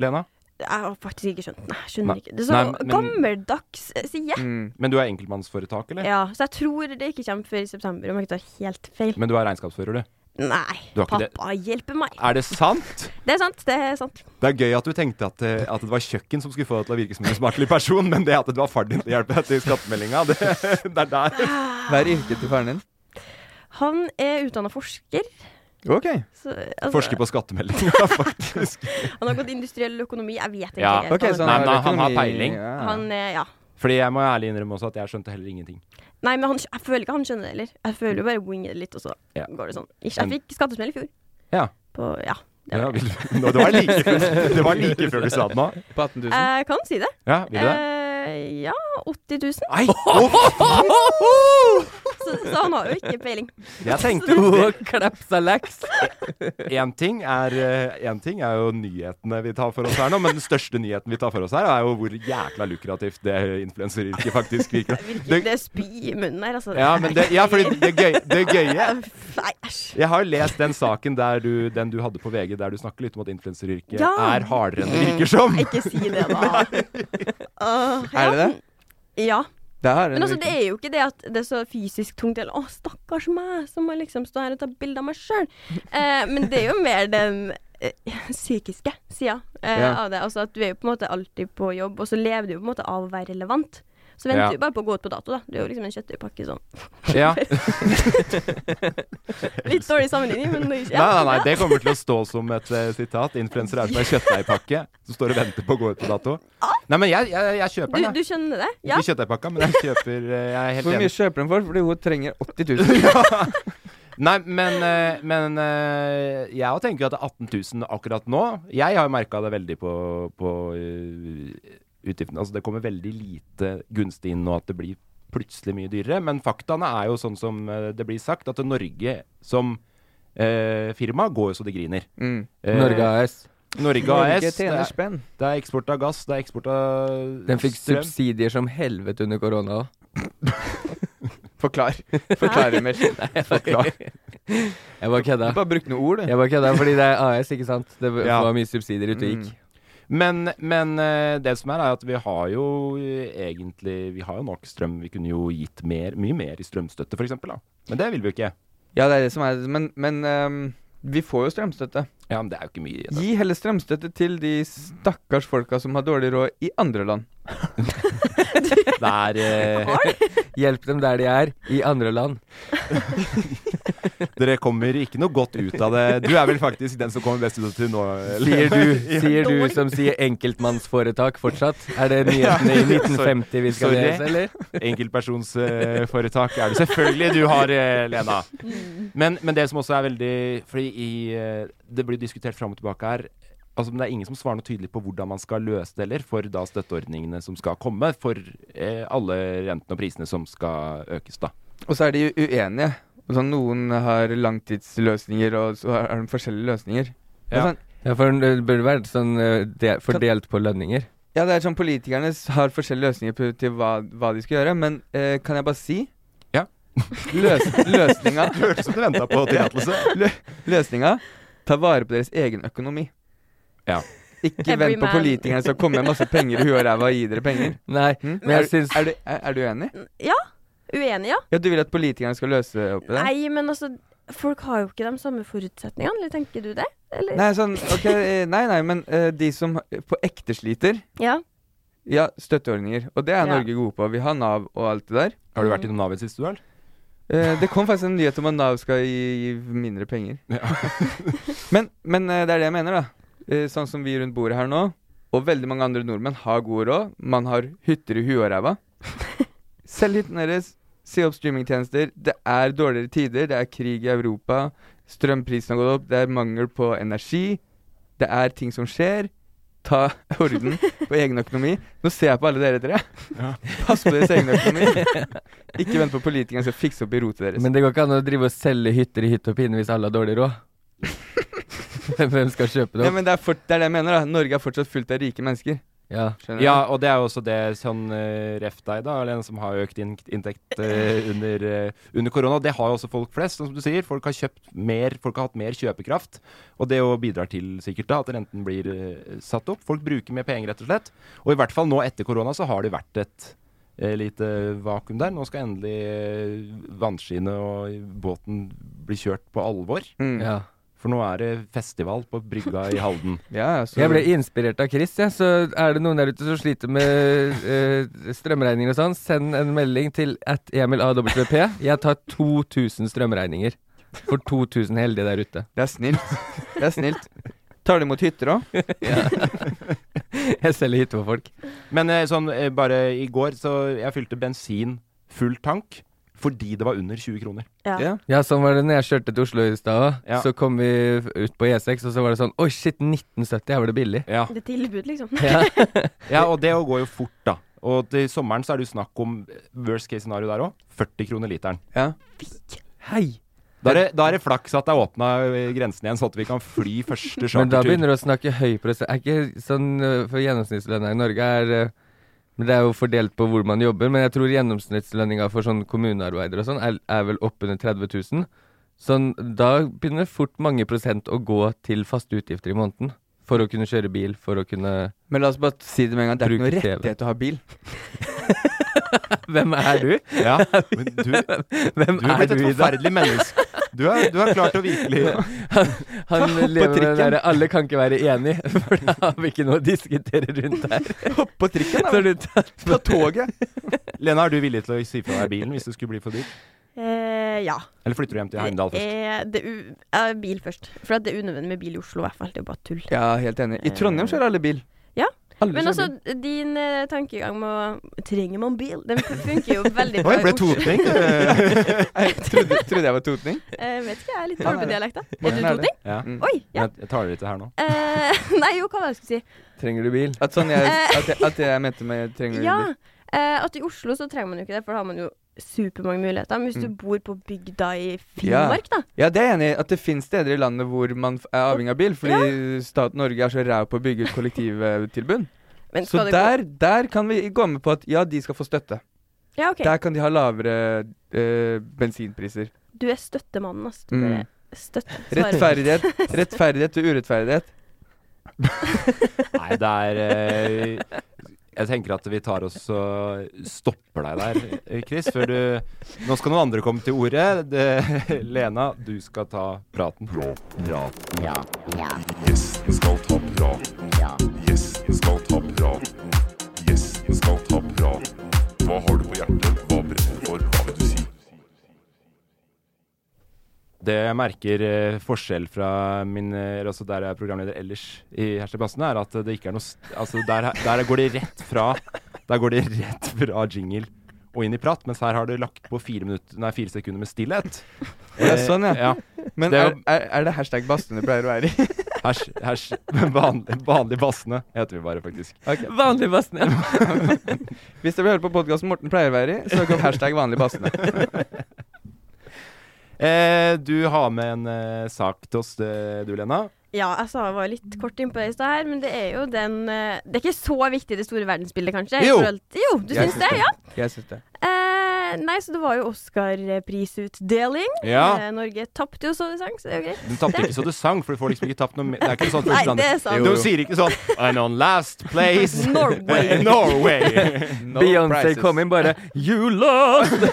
Lena? Jeg har faktisk ikke skjønt den. Jeg skjønner Nei. ikke. Det er så Nei, men- gammeldags, eh, sier jeg. Mm. Men du er enkeltmannsforetak, eller? Ja, så jeg tror det ikke kommer før i september, om jeg ikke tar helt feil. Men du er regnskapsfører, du? Nei, Du har ikke det? pappa hjelper meg. Er det sant? Det er sant, det er sant. Det er gøy at du tenkte at, eh, at det var kjøkken som skulle få deg til å virke som en smartlig person, men det at det var far din til å hjelpe deg til skattemeldinga, det, det er der. Hva er yrket til faren din? Han er utdanna forsker. Ok. Så, altså, Forsker på skattemeldinga, faktisk. Han har gått industriell økonomi. Jeg vet ikke. Ja, helt. Ok, så han, Nei, men er han har økonomi- peiling. Ja. han, eh, ja. Fordi jeg må ærlig innrømme også at jeg skjønte heller ingenting. Nei, men han, jeg føler ikke han skjønner det heller. Jeg føler jo bare winger det litt, og så Ja. går det sånn. Ikke, jeg fikk skattesmell i fjor. Ja. På, ja. Det Ja, var det. vil du, nå, det, var like før, det var like før du sa det nå. På 18 000? Jeg Eh, kan si det. Ja, vil du det? Eh, ja, 80 000. Nei! å, Så, så han har jo ikke peiling. Jeg tenkte Jo, klapsa laks! Én ting, er, eh, en ting er jo nyhetene vi tar for oss her nå, men den største nyheten vi tar for oss her, er jo hvor jækla lukrativt det influenseryrket faktisk virker. Virker Det, det spy i munnen her, altså. ja, men det, ja, fordi det, gøy, det gøye Nei, æsj. Jeg har lest den saken der du, den du hadde på VG, der du snakker litt om at influenseryrket Ja. er hardere enn det virker som. Ikke si det, da. Åh, ja. Er det det? Ja. Det er en Men altså, det virkelig- er jo ikke det at det er så fysisk tungt eller 'Å, stakkars meg', som må jeg liksom stå her og ta bilde av meg sjøl. Eh, men det er jo mer den eh, psykiske sida eh, Ja. av det. Altså at du er jo på en måte alltid på jobb, og så lever du jo på en måte av å være relevant. Så Ja. venter du bare på å gå ut på dato, da. Du er jo liksom en kjøttøypakke sånn. Ja. Litt dårlig sammenligning, men det er Nei, ikke- ja, nei, nei, ja. det kommer til å stå som et eh, sitat. Influenser er som en kjøttdeigpakke som står og venter på å gå ut på dato. Nei, men jeg, jeg, jeg kjøper den, Du, jeg. du skjønner det? Ja. Ikke kjøttdeigpakka, men jeg kjøper eh, Jeg er helt Hvor enig. mye kjøper den for? Fordi hun trenger 80 000. Nei, men, eh, men eh, jeg også tenker jo at det er 18 000 akkurat nå. Jeg har jo merka det veldig på, på eh, utgiftene. Altså, det kommer veldig lite gunstig inn nå at det blir plutselig mye dyrere. Men faktaene er jo sånn som eh, det blir sagt, at Norge som eh, firma går jo så det griner. Mm. Eh, Norge AS. Norge AS. Norge det tjener er- spenn. Det er eksport av gass, det er eksport av Den fikk strøm. subsidier som helvete under korona òg. Forklar. Forklarer mer. Forklar. Jeg bare kødda. Du bare brukte noen ord, du. Jeg bare kødda fordi det er AS, ikke sant? Det var Ja. var mye subsidier ute og gikk. Mm. Men, men eh, det som er, er at vi har jo eh, egentlig Vi har jo nok strøm. Vi kunne jo gitt mer, mye mer i strømstøtte, f.eks. Men det vil vi jo ikke. Ja, det er det som er Men, men ehm, vi får jo strømstøtte. Ja, men det er jo ikke mye. i det. Gi heller strømstøtte til de stakkars folka som har dårlig råd i andre land. Det er, eh, Hjelp dem der de er, i andre land. dere kommer ikke noe godt ut av det. Du er vel faktisk den som kommer best ut av det nå. Sier du, sier du som sier enkeltmannsforetak fortsatt? Er det nyhetene i 1950 vi skal Sorry. lese, eller? Enkeltpersonsforetak er det selvfølgelig du har, eh, Lena. Men, men det som også er veldig Fordi i, eh, det blir diskutert fram og tilbake her. Altså, men det er ingen som svarer noe tydelig på hvordan man skal løse det heller, for da støtteordningene som skal komme, for eh, alle rentene og prisene som skal økes, da. Og så er de u- uenige. Og sånn, noen har langtidsløsninger, og så har de forskjellige løsninger. Det er Ja. Sånn, Ja, for det burde vært sånn eh, de- fordelt på lønninger. ja, det er sånn politikerne s- har forskjellige løsninger på, til hva, hva de skal gjøre, men eh, kan jeg bare si Ja. Løs, løsninga, Hørtes ut som du venta på tillatelse. lø, løsninga Ta vare på deres egen økonomi. Ja. Ikke Every vent på man. politikerne som kommer med masse penger i huet og ræva og gir dere penger. Nei, Mm? men jeg syns Er du, er, er du enig? ja. Uenig, ja. Ja, Du vil at politikerne skal løse opp i det? Nei, men altså, folk har jo ikke de samme forutsetningene, eller tenker du det? Eller? Nei, sånn, ok, eh, nei, nei, men eh, de som eh, på ekte sliter Ja. Ja, støtteordninger. Og det er Ja. Norge gode på. Vi har Nav og alt det der. Har du vært i Nav i det siste, du, eller? Eh, det kom faktisk en nyhet om at Nav skal gi, gi mindre penger. men men eh, det er det jeg mener, da. Eh, sånn som vi rundt bordet her nå, og veldig mange andre nordmenn har god råd. Man har hytter i huet og ræva. Selg hytten deres, si opp streamingtjenester. Det er dårligere tider, det er krig i Europa, strømprisen har gått opp, det er mangel på energi. Det er ting som skjer. Ta orden på egen økonomi. Nå ser jeg på alle dere tre. Pass på deres egen økonomi. Ikke vent på politikerne som fikser opp i rotet deres. Men det går ikke an å drive og selge hytter i hytt og pine hvis alle har dårlig råd. Hvem skal kjøpe det Ja, opp? men det er, fort, det er det jeg mener. da Norge er fortsatt fullt av rike mennesker. Ja. Skjønner Ja, og det er jo også det sånn eh, ref deg, da, eller en som har økt inn- inntekt eh, under, eh, under korona. Det har jo også folk flest, som du sier. Folk har kjøpt mer, folk har hatt mer kjøpekraft. Og det jo bidrar til sikkert da at renten blir eh, satt opp. Folk bruker mer penger, rett og slett. Og i hvert fall nå etter korona så har det vært et eh, lite vakuum der. Nå skal endelig eh, vannskinnet og båten bli kjørt på alvor. du? Mm. ja. For nå er det festival på brygga i Halden. Ja, så, Jeg ble inspirert av Chris, jeg. Så er det noen der ute som sliter med eh, strømregninger og sånn, send en melding til at EmilAWP. Jeg tar 2000 strømregninger. For 2000 heldige der ute. Det er snilt. Det er snilt. Tar du imot hytter òg? Jeg selger hytte for folk. Men eh, sånn, eh, bare i går så jeg fylte bensin full tank fordi det var under 20 kroner. Ja. Ja. Ja, sånn var det når jeg kjørte til Oslo i stad òg. Ja. Så kom vi ut på E6, og så var det sånn Oi, shit, 1970, her var det billig. Ja. Det er tilbud, liksom. Ja. og det går jo fort, da. Og til sommeren så er det jo snakk om eh, worst case scenario der òg. 40 kroner literen. Ja. Hei! Da er, det, da er det flaks at det er åpna eh, grensen igjen, sånn at vi kan fly første Men da chartertur. begynner du å snakke høy prosent. Er ikke sånn øh, For gjennomsnittslønna i Norge er øh, Men det er jo fordelt på hvor man jobber, men jeg tror gjennomsnittslønninga for sånn kommunearbeidere og sånn er, er vel oppunder 30 000. Sånn, da begynner fort mange prosent å gå til faste utgifter i måneden. For å kunne kjøre bil, for å kunne Men la oss bare si det med en gang. Det er ikke Bruke noe TV. rettighet å ha bil. Hvem er du? Ja, men du, du Hvem er er blitt et du i dag? forferdelig menneske. Du har, du har klart å virkelig Han Hopp lever på med det trikken. derre 'alle kan ikke være enig', for da har vi ikke noe å diskutere rundt her. Hopp på trikken, Så da. du tar Ta toget. Lena, er du villig til å si fra deg bilen hvis det skulle bli for dyrt? Eh, ja. Eller flytter du hjem til Heimdal Det først? er, det er u ja, bil først. For at det er unødvendig med bil i Oslo, i hvert fall. Det er bare tull. Ja, helt enig. I Trondheim kjører alle bil. Ja. Alle Men kjører altså, bil. din eh, tankegang med å Trenger man bil? Den funker jo Oi, veldig bra. i ble Oslo. totning. Jeg trodde, trodde jeg var totning. Eh, vet ikke, jeg er litt Han er dårlig på det. dialekt, da. Er Morten du er det. toting? Ja. Mm. Oi! Ja. Jeg, jeg tar det litt her nå. Eh, nei, jo, hva var det jeg skulle si? Trenger du bil? At sånn jeg, Eh. at jeg, at jeg mente med trenger du Ja, bil. eh, at i Oslo så trenger man jo ikke det, for da har man jo supermange muligheter. Men hvis du bor på bygda i Ja. Finnmark, da. Ja, det er jeg enig i. At det finnes steder i landet hvor man f- er avhengig av bil. Fordi staten Norge er så ræv på å bygge ut kollektivtilbud. Men Så skal det gå- der, der kan vi gå med på at ja, de skal få støtte. Ja, ok. Der kan de ha lavere eh, bensinpriser. Du er støttemannen, altså. Du Mm. bare støtte. Svarer. Rettferdighet. Rettferdighet og urettferdighet. Nei, det er eh, Jeg tenker at vi tar oss og stopper deg der, eh, Chris. Før du Nå skal noen andre komme til ordet. Det, Lena, du skal ta praten. Det jeg merker eh, forskjell fra min eh, Altså der jeg er programleder ellers i Hersteplassen, er at det ikke er noe st Altså der, der går det rett fra Der går det rett fra jingle og inn i prat, mens her har du lagt på fire, minutter, nei, fire sekunder med stillhet. Eh, Ja, sånn, ja. Ja. Men Det er er, jo- er, er det hashtag Bastene pleier å være i? Hers, hers, vanlig, vanlig bassene heter vi bare, faktisk. Vanlig Bastne. Hvis dere vil høre på podkasten Morten pleier å være i, søk opp hashtag vanlig Bastene. Eh, du har med en eh, sak til oss, eh, du, Lena. Ja, jeg sa jeg var litt kort innpå det i stad her, men det er jo den eh, Det er ikke så viktig i det store verdensbildet, kanskje? i Jo. forhold til- jo du Jeg syns det? Ja. Jeg syns det. Eh, nei, så det var jo Oscar-prisutdeling. Ja. Eh, Norge tapte jo så det sang, så det er jo greit. Du tapte ikke så du sang, for du får liksom ikke tapt noe mer. Det er ikke sånn Nei, første det andre. er sant. Du sier ikke sånn And on last place eh, Norway. Norway. No Beyoncé prizes. kom inn bare 'You lost'!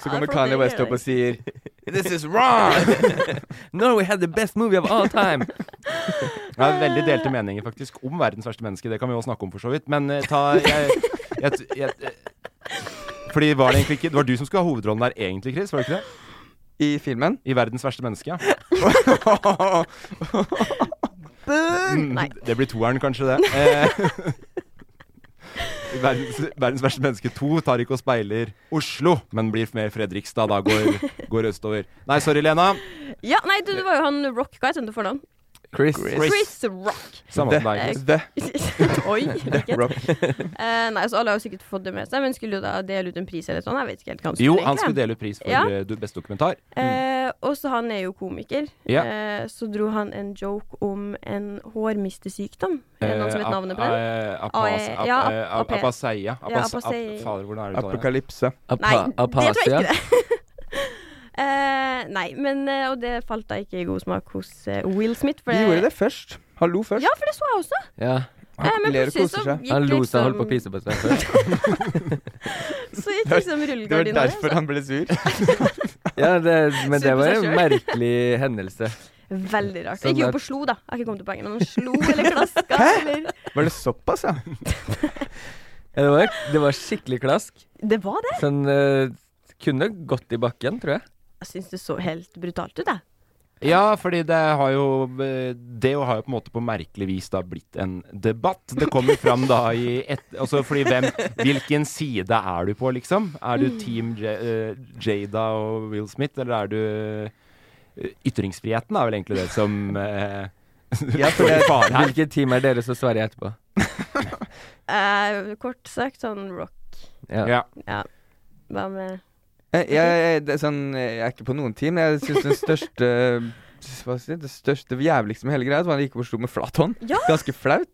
Så kommer Ja, det er Kanye West opp og sier This is wrong! Norway had the best movie of all time. Jeg har veldig delte meninger faktisk om verdens verste menneske. Det kan vi jo snakke om for så vidt. Men eh, ta jeg, jeg, jeg, eh, Fordi var det egentlig ikke Det var du som skulle ha hovedrollen der egentlig, Chris? Var det ikke det? I filmen. I verdens verste menneske, ja. Mm, Nei. Det blir toeren, kanskje, det. Eh, verdens, verdens verste menneske 2 tar ikke og speiler Oslo, men blir mer Fredrikstad. Da går, går østover. Nei, sorry, Lena. Ja, nei, sånn du, det var jo han Rock Guy, som du fornavn. Chris. Chris Rock. Samme som deg, Chris. The Oi. ikke. Rock. Eh, nei, så alle har jo sikkert fått det med seg, men skulle jo da dele ut en pris eller sånn. Jeg vet ikke helt hva han skulle Jo, han egentlig. skulle dele ut pris for Ja. eh, du- beste dokumentar. Mm. Eh, og så han er jo komiker. Ja. Eh, så dro han en joke om en hårmistesykdom. Er det noen som Eh, vet ap- navnet på den? eh, apas- Ae- ap- ja, eh, ap- ap- ape- Apaseia. Ja, Apas- apaseia. ap- Fader, hvordan er det uttalt? Apokalypse. Nei, Apa det tror jeg Apasia. ikke det. Eh, nei, men eh, Og det falt da ikke i god smak hos eh, Will Smith. For De gjorde det først. Hallo først. Ja, for det så jeg også. Ja. Han Eh, men ler og plutselig koser så seg. gikk Han lo seg og holdt på å liksom- pisse på seg før. Så gikk liksom Det var rullegardina derfor han ble sur. Ja, det, men det Sur på var en seg selv. merkelig hendelse. Veldig rart. Sånn ikke at- opp og slo, da. Jeg har ikke kommet til poenget, men han slo eller klaska eller Var det såpass, ja? Ja, det, var, det var skikkelig klask. Det var det. Sånn eh, kunne gått i bakken, tror jeg. Jeg syns det så helt brutalt ut, jeg. Ja, fordi det har jo eh, Det jo har jo på en måte på merkelig vis da blitt en debatt. Det kommer fram da i et, altså fordi hvem, Hvilken side er du på, liksom? Er du Team J eh, Jada og Will Smith, eller er du eh, Ytringsfriheten er vel egentlig det som eh, står i fare her. Hvilket team er dere som svarer etterpå? Eh, kort sagt sånn rock. Ja. Ja. Hva med Jeg, jeg, det er sånn, jeg er ikke på noen team. Jeg syns den største hva skal jeg si, Det største jævligste med hele greia var at han gikk opp og slo med flat hånd. Ja! Ganske flaut.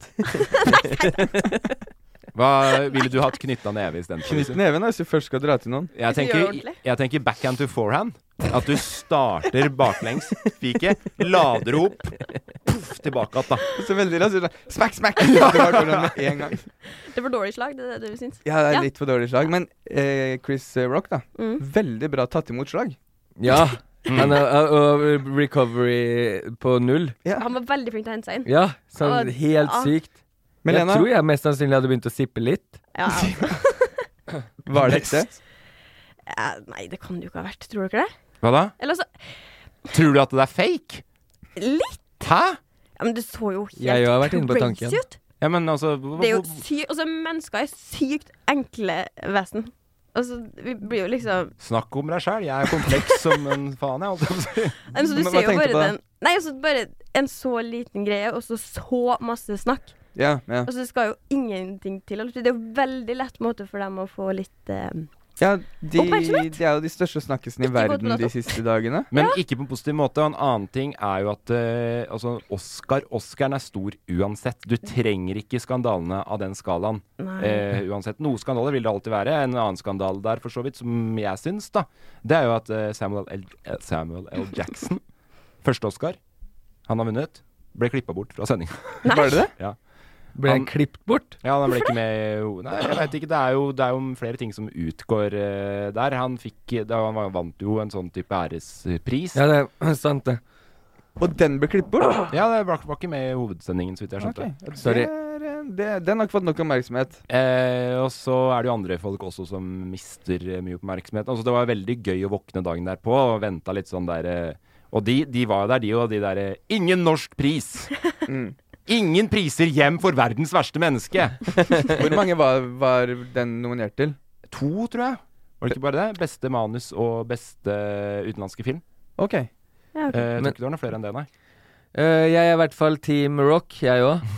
Hva ville du hatt knytta neve istedenfor? Knytt neven da, hvis du først skal dra til noen. liksom? Jeg Hvis du gjør det tenker, ordentlig. jeg tenker backhand to forehand. At du starter baklengs, fiket, lader opp, poff, tilbake igjen, da. Så veldig raskt. sånn, Smack, smack! Det var bare sånn med en gang. Det var dårlig slag, det er det du syns? Ja, det Ja. er litt for dårlig slag. Men eh, Chris eh, Rock, da. Mm. Veldig bra tatt imot slag. ja. Han er, og- og recovery på null. Han var veldig flink til å hente seg inn. Ja, sånn Å, helt ja. sykt. Jeg Melena, tror jeg mest sannsynlig hadde begynt å sippe litt. Ja, ja. var det ekte? Eh, nei, det kan det jo ikke ha vært. Tror dere det? Hva da? Eller altså Tror du at det er fake? Litt. Hæ? Ja, men det så jo helt Jeg har vært inne på crazy tanken. ut. Ja, men altså Det er jo sy altså, mennesker er sykt enkle vesen. Altså, vi blir jo liksom Snakk om deg sjæl. Jeg er kompleks som en faen, jeg. altså. holdt jeg på å si. Nei, men så du Men hva ser jo tenkte du på bare da? den Nei, altså bare en så liten greie, og så så masse snakk. Ja, ja. Altså, det skal jo ingenting til. altså, Det er jo veldig lett måte for dem å få litt eh, ja de, Oppmerksomhet? de er jo de største snakkisene sånn i Ikke gått på verden de dato. siste dagene. Men ikke på en positiv måte. Og en annen ting er jo at eh, altså, Oscar Oscaren er stor uansett. Du trenger ikke skandalene av den skalaen. Nei. Eh, uansett. Noen skandaler vil det alltid være. En annen skandale der, for så vidt, som jeg syns, da, det er jo at eh, Samuel, L, eh, Samuel L. Jackson, første Oscar han har vunnet, ble klippa bort fra sendinga. Nei. Var det det? Ble Han- han klippet bort? Ja, han ble ikke med i ho- Nei, jeg vet ikke. Det er jo, det er jo flere ting som utgår eh, der. Han fikk da Han var- vant jo en sånn type ærespris. Ja, det er sant, det. Og den ble klippet bort? Ja, det var, var ikke med i hovedsendingen, så vidt jeg skjønte. Ah, Ok, Sorry. Det, er, eh, det, den har ikke fått nok oppmerksomhet. Eh, og så er det jo andre folk også som mister eh, mye oppmerksomhet. Altså, det var veldig gøy å våkne dagen derpå og venta litt sånn der eh, Og de, de var jo der, de og de der eh, Ingen norsk pris! Mm. Ingen priser hjem for verdens verste menneske! Hvor mange var, var den nominert til? To, tror jeg. Var det ikke bare det? Beste manus og beste utenlandske film. Ok. Ja, ok. Eh, jeg Men- tror ikke det var noe flere enn det, nei. Eh, jeg er i hvert fall Team Rock, jeg òg.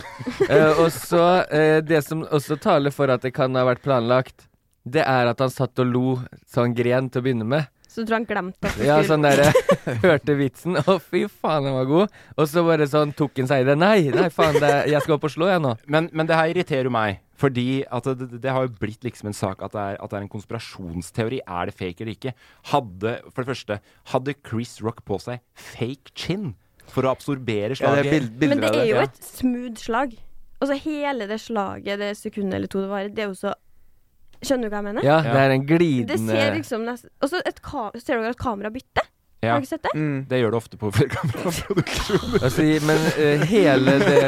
Eh, og så eh, Det som også taler for at det kan ha vært planlagt, det er at han satt og lo så han gren til å begynne med. Så du tror han glemte at det Ja, skulle- sånn derre Hørte vitsen. Å, fy faen, den var god. Og så bare sånn tok han seg i det. Nei, nei, faen, det, jeg skal opp og slå, jeg nå. Men, men det her irriterer jo meg, fordi at det, det, det har jo blitt liksom en sak at det, er, at det er en konspirasjonsteori. Er det fake eller ikke? Hadde, for det første, hadde Chris Rock på seg fake chin for å absorbere Ja, slaget? det er bild, Men bilder det av er det. jo Ja. et smooth slag. Altså hele det slaget, det sekundet eller to det varer, det er jo så Skjønner du hva jeg mener? Ja, eh, det er en Det ser glidende liksom nesten Og så et ka- ser dere at kamera bytter? ja, Har du ikke sett det? Mm. det gjør det ofte på kameraproduksjon. altså, Men eh, hele det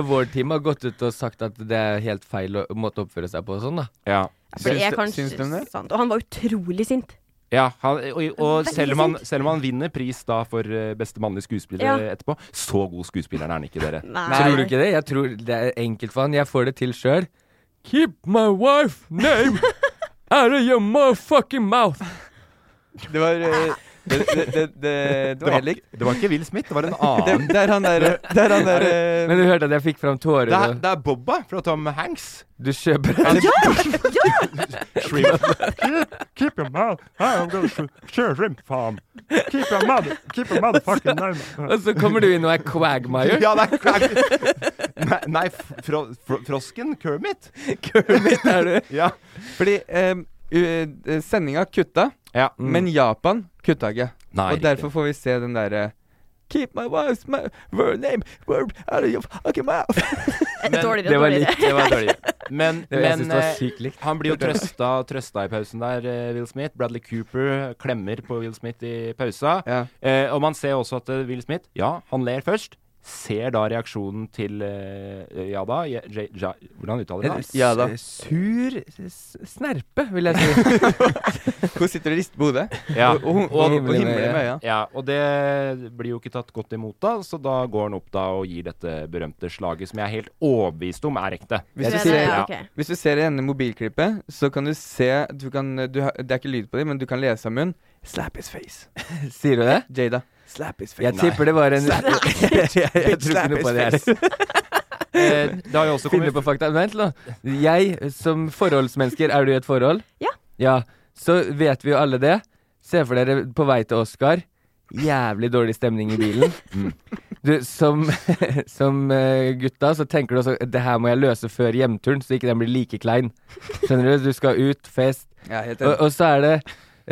award-teamet har gått ut og sagt at det er helt feil å måtte oppføre seg på og sånn, da. Ja. For det Syns er du- kanskje syns du det? sant. Og han var utrolig sint. Ja, han, og, og Veldig selv, om han, sint. selv om han vinner pris da for eh, beste mannlige skuespiller Ja. etterpå, så god skuespiller er han ikke, dere. Nei. Tror du ikke det? Jeg tror det er enkelt for han. Jeg får det til sjøl. Keep my wife name out of your motherfucking mouth. Det var eh, Det, det, det, det, det var helt likt. Det var ikke Will Smith, det var en Det, annen. det er han der, det er han der eh, Men du hørte at jeg fikk fram tårer? Det er, og det er Bobba fra Tom Hanks. Du kjøper en Shrimp. Keep, keep your mouth. I'm gonna sh shrimp farm. Keep your mother, keep your motherfucking name. Og så kommer du inn og er Quagmire. Ja, det er Craig. Nei, nei fro, fro, frosken? Kermit? Kermit er du. Ja. Fordi um, sendinga kutta, ja. mm, men Japan kutta Mm. ikke. Nei, og derfor får vi se den derre Keep my wife's my word name word out of your fucking mouth. Eh, Dårligere Det og var dårligere. likt. Det var dårlig. Men, Det, jeg men synes det var eh, sykt likt. han blir jo trøsta, trøsta i pausen der, eh, Will Smith. Bradley Cooper klemmer på Will Smith i pausa. Ja. Eh, og man ser også at eh, Will Smith, ja, han ler først. Ser da reaksjonen til eh, Jada Je- Je- Ja- Hvordan uttaler han det? Ja da. S- Sur s- snerpe, vil jeg si. Hun sitter og rister på hodet. Ja. Og, og, og, og Himler med himler med øya. Ja, og det blir jo ikke tatt godt imot da, så da går han opp da og gir dette berømte slaget, som jeg er helt overbevist om er ekte. Hvis du Ja, ser- det- ja, ja. ok. Hvis du ser i denne mobilklippet, så kan du se du kan, eh, du, har- Det er ikke lyd på dem, men du kan lese av munnen. Slap his face. Sier du det? Jada. Slap his face. Jeg tipper det var en Jeg, jeg, jeg tror ikke noe på det her. Eh, det har jo også Finne kommet på fakta. Vent nå. Jeg, som forholdsmennesker, er du i et forhold? Ja. Ja, Så vet vi jo alle det. Se for dere på vei til Oscar. Jævlig dårlig stemning i bilen. Mm. Du, som, som eh, gutta så tenker du også det her må jeg løse før hjemturen, så ikke den blir like klein. Skjønner du? Du skal ut, fest. Ja, helt Og, enig. og så er det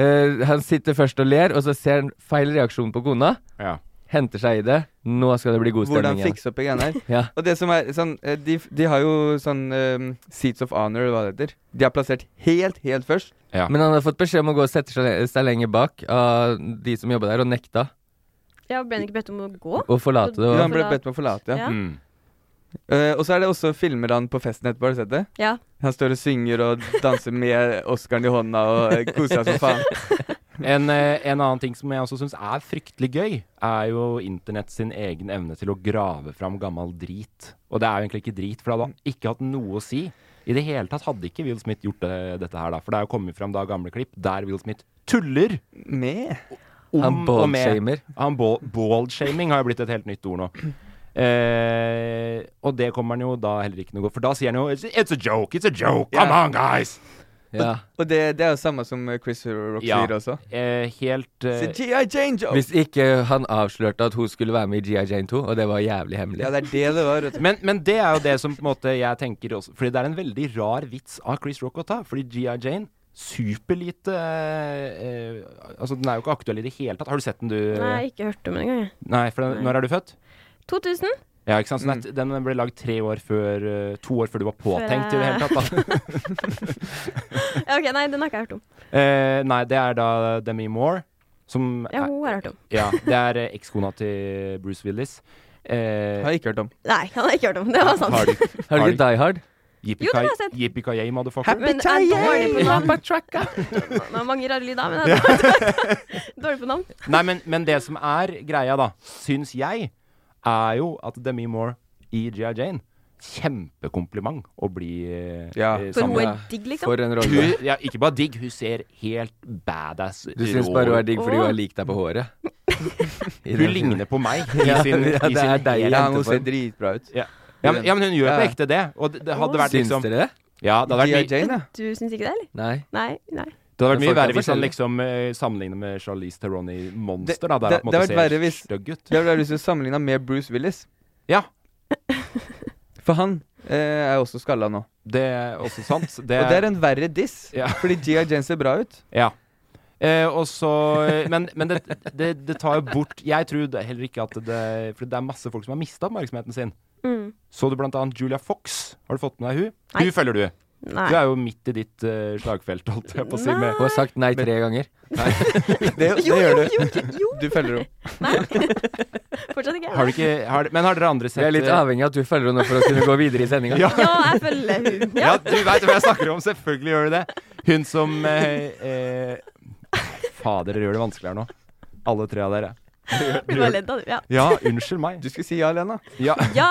eh, Han sitter først og ler, og så ser han feil reaksjon på kona. Ja. Henter seg i det. Nå skal det bli god stemning Hvordan igjen. fikse opp i greiene her. Ja. Og det som er sånn eh, De, de har jo sånn eh, Seats of Honor, eller hva det heter. De har plassert helt, helt først. Men han hadde fått beskjed om å gå og sette seg, seg lenger bak av de som jobba der, og nekta Ja, ble han ikke bedt om å gå? å forlate det. Ja, Og, han ble bedt om å forlate. Ja. Ja. Mm. Eh, og så er det også filmer han på festen etterpå. Har du sett det? Ja. Han står og synger og danser med Oscaren i hånda og eh, koser seg som faen. En, eh, en annen ting som jeg også syns er fryktelig gøy, er jo internett sin egen evne til å grave fram gammel drit. Og det er jo egentlig ikke drit, for det hadde ikke hatt noe å si. I det hele tatt hadde ikke Will Smith gjort det, dette her, da. For det er jo kommet fram da gamle klipp der Will Smith tuller Med. om han og med ballshamer. Han ball- Ball-shaming har jo blitt et helt nytt ord nå. Eh, og det kommer han jo da heller ikke noe For da sier han jo It's, it's a joke, it's a joke, come Ja. on guys! Ja. Og det, det er jo samme som eh, Chris Rock Ja. sier også. Eh, helt eh, Så G.I. Jane Joe. Hvis ikke han avslørte at hun skulle være med i GI Jane 2, og det var jævlig hemmelig. Ja, det er det det var. vet du. men, men det er jo det som på en måte jeg tenker også Fordi det er en veldig rar vits av Chris Rock å ta. Fordi GI Jane superlite eh, eh, Altså, den er jo ikke aktuell i det hele tatt. Har du sett den, du? Nei, ikke hørt om det engang. jeg. Nei, for den, Nei. Når er du født? 2000? Ja, ikke sant? Så den er- Den ble lagd tre år før eh, To år før du var påtenkt i det hele tatt, da. Ja, ok, Nei, den har ikke jeg hørt om. Eh, nei, det er da Demi Moore. Som Ja, er, hun har jeg hørt om. ja, det er eh, ekskona til Bruce Willis. Eh, Har jeg ikke hørt om. Nei, han har jeg ikke hørt om. Det var sant. har du Har du ikke Die Hard? Jo, det har jeg sett. Yippee-ki-yay, motherfucker. Men jeg er dårlig på navn. Tracka. Det var mange rare lyder, men jeg er dårlig- dårlig på navn. Nei, men, men det som er greia, da, syns jeg, er jo at Demi Moore i G.I. Jane Kjempekompliment å bli eh, Ja. eh, For sammen hun med. er digg, liksom. For en rolle. Hun, ja, ikke bare digg, hun ser helt badass Du syns bare hun er ut. digg fordi hun har lik deg på håret. I Hun den- ligner på meg i Ja, sin, ja, i det er sin deg. helt- Ja, henteform. hun ser dritbra ut. Ja. Ja, men, ja, men hun gjør Ja. på ekte det. Og det, det hadde vært Syns liksom dere det? Ja, det hadde vært G.I. litt- Jane, ja. Du syns ikke det, eller? Nei. Nei. nei. Det hadde vært Men mye folk er verre hvis han liksom eh, sammenlignet med Charlize Theron i Monster. Det- da, der det- han på en det måte hadde vært verre ser hvis- stygg ut. Jeg har lyst til å sammenligne han med Bruce Willis. Ja, For han eh, er også skalla nå. det er også sant. Det Og det er er, en verre diss, Ja. fordi G.I. Jane ser bra ut. ja. Eh, og så eh, Men, men det, det, det tar jo bort Jeg tror det, heller ikke at det For det er masse folk som har mista oppmerksomheten sin. Mm. Så du blant annet Julia Fox? Har du fått med deg hun? Nei. Hun følger du. Du nei. er jo midt i ditt eh, slagfelt, holdt jeg på å si. Med. Hun har sagt nei tre ganger. Det, det Jo, gjør jo, du. jo, jo, jo. Du følger henne. Nei. Fortsatt ikke. Har du ikke, har, men har dere andre Vi sett er litt eh, avhengig av at du følger henne for å kunne gå videre i sendinga. Ja. Ja, jeg følger hun. Ja, Ja. du veit hva jeg snakker om. Selvfølgelig gjør du det. Hun som eh, eh, Fader, dere gjør det vanskeligere nå. Alle tre av dere. Blir bare ledd av det. Ja. Ja, unnskyld meg. Du skulle si ja, Lena. Ja, ja.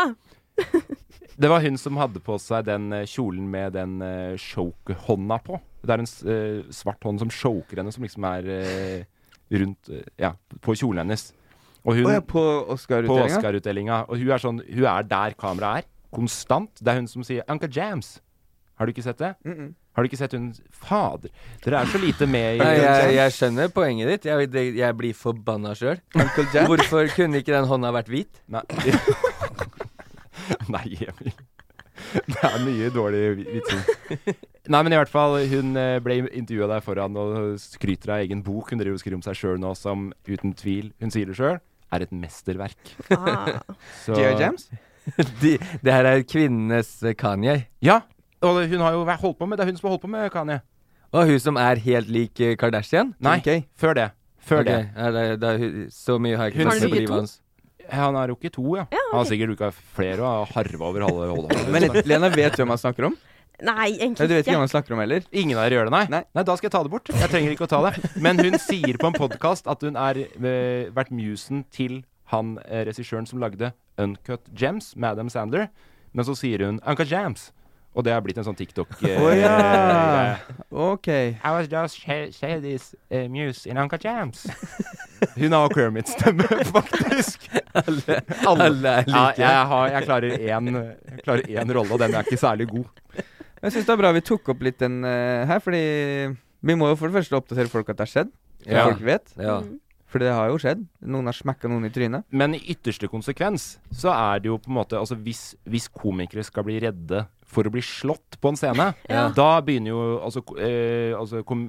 det var hun som hadde på seg den eh, kjolen med den eh, choke-hånda på. Det er en s- eh, svart hånd som choker henne, som liksom er eh, rundt eh, Ja, på kjolen hennes. Og hun Å ja, på på Oscar-utdelinga? Oscar-utdelinga. Og hun er sånn Hun er der kameraet er. Konstant. Det er hun som sier 'Uncle Jams'. Har du ikke sett det? Har du ikke sett hun Fader, dere er så lite med i Nei, jeg, jeg skjønner poenget ditt. Jeg, det- jeg blir forbanna sjøl. Hvorfor kunne ikke den hånda vært hvit? Nei. Nei, Emil. Det er mye dårlig vi- vitsing. Nei, men i hvert fall, hun eh, ble intervjua der foran og skryter av egen bok. Hun driver og skriver om seg sjøl nå som uten tvil, hun sier det sjøl, er et mesterverk. Ah. Så- G.I. Jams? De, det her er kvinnenes eh, Kanye. Ja. Og hun har jo vært- holdt på med det er hun som har holdt på med Kanye. Og hun som er helt lik eh, Kardashian. Nei, Kim K. før det. Før Ok, det. ja, det, det, er hun- så mye har jeg Hun- ikke sett Har på du livet to? hans. Han har rukket to, ja. Han har sikkert rukka flere og har harva over halve holdet. Men Lena vet hvem han snakker om? Nei, Nei, du vet egentlig ikke ikke. hvem han snakker om heller? Ingen av dere gjør det, nei. nei? Nei. da skal jeg ta det bort. Jeg trenger ikke å ta det. Men hun sier på en podkast at hun har vært musen til han eh, regissøren som lagde Uncut Gems, Madam Sander. Men så sier hun Uncut Jams. Og det har blitt en sånn TikTok eh, Å ja. greie. OK. I was just sh sh this eh, muse in Uncut Jams. Hun har Kermit-stemme, faktisk. Alle. Alle er Ja, like. jeg, har, jeg klarer én jeg klarer én rolle, og den er ikke særlig god. Jeg syns det er bra vi tok opp litt den eh, her, fordi vi må jo for det første oppdatere folk at det har skjedd. så Ja. Folk vet. Ja. For det har jo skjedd. Noen har smekka noen i trynet. Men i ytterste konsekvens så er det jo på en måte Altså hvis, hvis komikere skal bli redde for å bli slått på en scene, da begynner jo Altså, ko- eh, altså kom,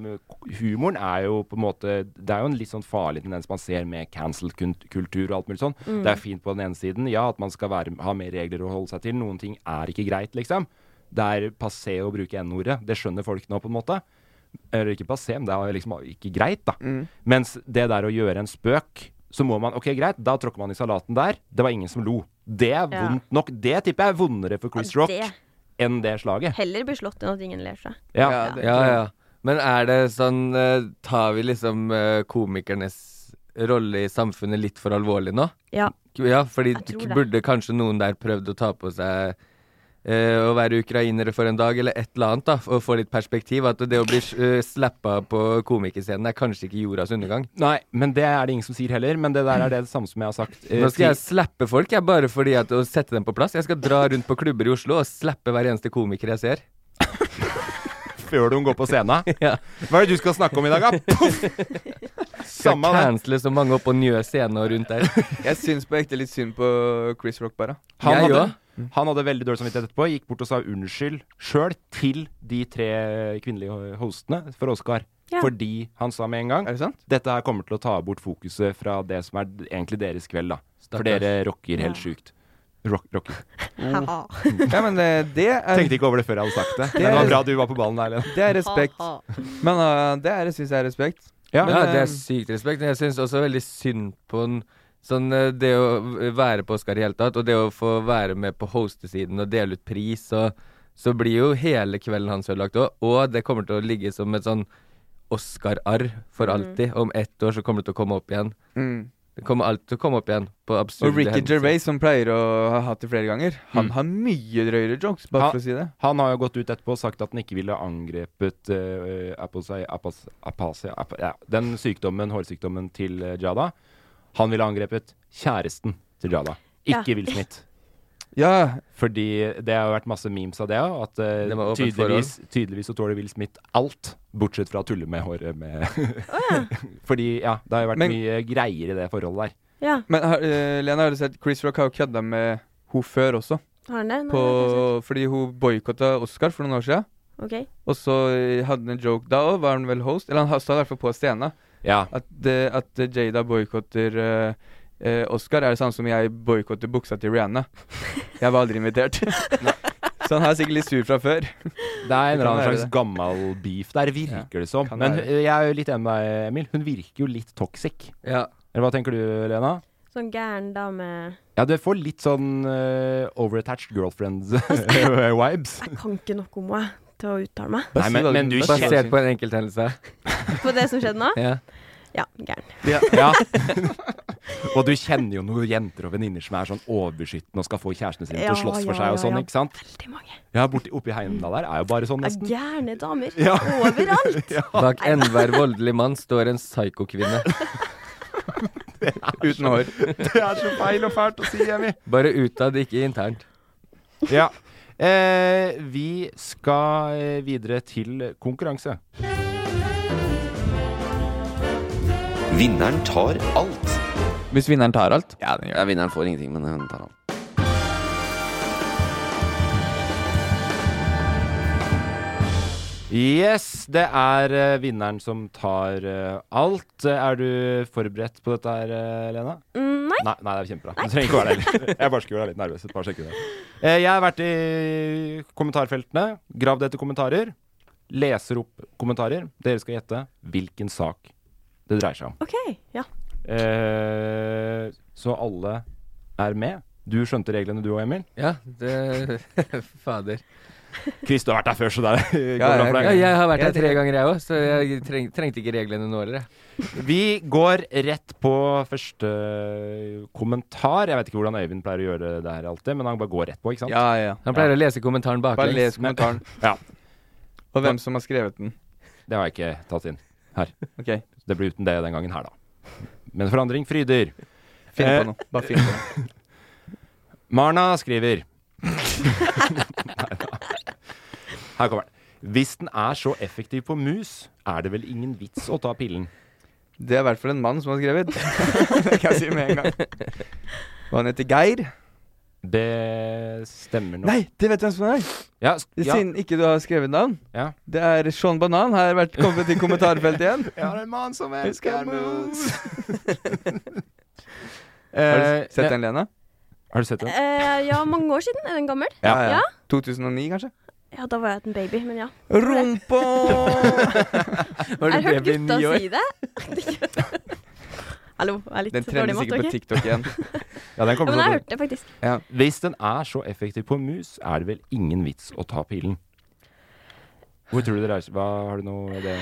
humoren er jo på en måte Det er jo en litt sånn farlig tendens man ser med cancel-kultur og alt mulig sånn. Det er fint på den ene siden, ja, at man skal være, ha mer regler å holde seg til. Noen ting er ikke greit, liksom. Det er passé å bruke n-ordet. Det skjønner folk nå, på en måte. Eller ikke passé, men det er liksom ikke greit, da. Mm. Mens det der å gjøre en spøk, så må man OK, greit, da tråkker man i salaten der. Det var ingen som lo. Det er Ja. vondt nok. Det tipper jeg er vondere for Chris Rock Det. enn det slaget. Heller bli slått enn at ingen ler seg. Ja. ja, ja. Men er det sånn eh, Tar vi liksom eh, komikernes rolle i samfunnet litt for alvorlig nå? Ja. Ja, fordi Jeg tror k- det. burde kanskje noen der prøvd å ta på seg eh, å være ukrainere for en dag, eller et eller annet, da, og få litt perspektiv. At det å bli uh, slappa på komikerscenen er kanskje ikke jordas undergang. Nei, men det er det ingen som sier heller. Men det der er det samme som jeg har sagt. eh, Nå skal jeg til- slappe folk, jeg, bare fordi at å sette dem på plass. Jeg skal dra rundt på klubber i Oslo og slappe hver eneste komiker jeg ser. før de går på scenen. Ja. Hva er det du skal snakke om i dag, da? Poff! Skal Samme det. cancele så mange opp på Njø scene og rundt der. Jeg syns på ekte litt synd på Chris Rock, bare. Han, Jeg Mm. hadde, han hadde veldig dårlig samvittighet etterpå. Gikk bort og sa unnskyld sjøl til de tre kvinnelige hostene for Oscar. Ja. Fordi han sa med en gang Er det sant? dette her kommer til å ta bort fokuset fra det som er d- egentlig deres kveld, da. For Stakkars. dere rocker helt Ja. sjukt. Rock, rocker. Ha-ha. Ja, men det, det er Tenkte ikke over det før jeg hadde sagt det. Men Det det er- var bra du var på ballen der, Lene. Det er respekt. Ha-ha. Men eh, det er, syns jeg er respekt. Ja. Ja, Men, det eh, er sykt respekt. Jeg syns også veldig synd på den Sånn eh, det å v- være på Oscar i hele tatt, og det å få være med på hostesiden og dele ut pris, og så blir jo hele kvelden hans ødelagt òg. Og det kommer til å ligge som et sånn Oscar-arr for alltid. Om ett år så kommer det til å komme opp igjen. Mm. Det kommer alt til å komme opp igjen på absurde Og Ricky hendelser. Gervais, som pleier å ha hatt det flere ganger, han har mye drøyere jokes, bare Han- for å si det. Han har jo gått ut etterpå og sagt at han ikke ville angrepet eh, aposei- apos- apasia ap ja, Den sykdommen, hårsykdommen til eh, Jada. Han ville angrepet kjæresten til Jada, Ja. ikke Will Smith. Ja, Fordi det har jo vært masse memes av det òg. At eh, Det var åpent tydeligvis, tydeligvis så tåler Will Smith alt, bortsett fra å tulle med håret med Fordi ja, det har jo vært Men- mye greier i det forholdet der. Ja, men har, eh, Lena, har du sett Chris Rock har jo kødda med hun før også. har han det? Nei, På, det har jeg fordi hun boikotta Oscar for noen år siden. ikke sett. Ok. Og så eh, hadde han en joke da òg, var han vel host? Eller han sa i hvert fall på scenen Ja. at, eh, at eh, Jada boikotter eh, eh, Oscar, er det samme som jeg boikotter buksa til Rihanna. Jeg var aldri invitert. så han er sikkert litt sur fra før. Det er en eller annen være slags det. gammel beef der, virker det som. kan Men være. eh, jeg er jo litt enig med deg, Emil. Hun virker jo litt toxic. Ja. Eller hva tenker du, Lena? Sånn gæren dame Ja, du får litt sånn eh, overattached eh, girlfriends-vibes. Jeg kan ikke noe om henne til å uttale meg Nei, men, men du kjenner Bare se- Basert på en enkelthendelse. på det som skjedde nå. Ja. Ja, gæren. ja. Og du kjenner jo noen jenter og venninner som er sånn overbeskyttende og skal få kjærestene sine til Ja, å slåss for ja, seg og ja, sånn, ja. ikke sant? Veldig mange. Ja, borti oppi Heimdal der er jo bare sånn Ja, nesten. Gærne damer. Ja. Overalt. Bak enhver voldelig mann står en psykokvinne. Uten hår. Det er så feil og fælt å si, Emmy. Bare utad, ikke internt. Ja. Eh, vi skal eh, videre til konkurranse. Vinneren tar alt. Hvis vinneren tar alt. Ja, vinneren får ingenting, men hun tar alt. Yes, det er eh, vinneren som tar eh, alt. Er du forberedt på dette her, eh, Lena? Mm, Nei. Nei, nei, det er kjempebra. Du trenger ikke være det heller. Jeg bare skulle være litt nervøs et par sekunder. Eh, Jeg har vært i kommentarfeltene, gravd etter kommentarer, leser opp kommentarer. Dere skal gjette hvilken sak det dreier seg om. OK. Ja. Eh, Så alle er med. Du skjønte reglene du og Emil. Ja, det Fader. Chris, du har vært der før, så der går Ja, bra for ja, deg. jeg har vært her tre ganger, jeg òg, så jeg treng, trengte ikke reglene nå heller. jeg. Vi går rett på første kommentar. Jeg vet ikke hvordan Øyvind pleier å gjøre det her alltid, men han bare går rett på, ikke sant? Ja, ja. Han pleier å lese kommentaren Bare baklengs. les kommentaren. Ja. Og hvem som har skrevet den. Det har jeg ikke tatt inn her. Ok, Det blir uten det den gangen her, da. Men forandring fryder. finn Eh. på noe. Bare finn på noe. Marna skriver Neida. Her kommer den. Hvis den er så effektiv på mus, er det vel ingen vits å ta pillen. Det er i hvert fall en mann som har skrevet. det kan jeg si med en gang. Og han heter Geir. Det stemmer nok. Nei, det vet jeg hvem som er! Ja, s- ja. Siden ikke du har skrevet navn. Ja. Det er Sean Banan. Her har vært kommet til kommentarfeltet igjen. Jeg har en mann som elsker mus. Eh, Har du sett den, Lena? Har du sett den? Eh, ja, mange år siden. Er den gammel? Ja. Ja. 2009, kanskje? Ja, da var jeg en baby, men ja. Rumpa! Var du Jeg har hørt baby i gutta ni år? si det. Hallo, jeg er litt Den dårlig i trendes matte, sikkert på OK? TikTok igjen. Ja, den Ja, kommer men til jeg har å- hørt det, faktisk. Hvis den er så effektiv på mus, er det vel ingen vits å ta pillen. Hvor tror du det reiser Hva har du noe det?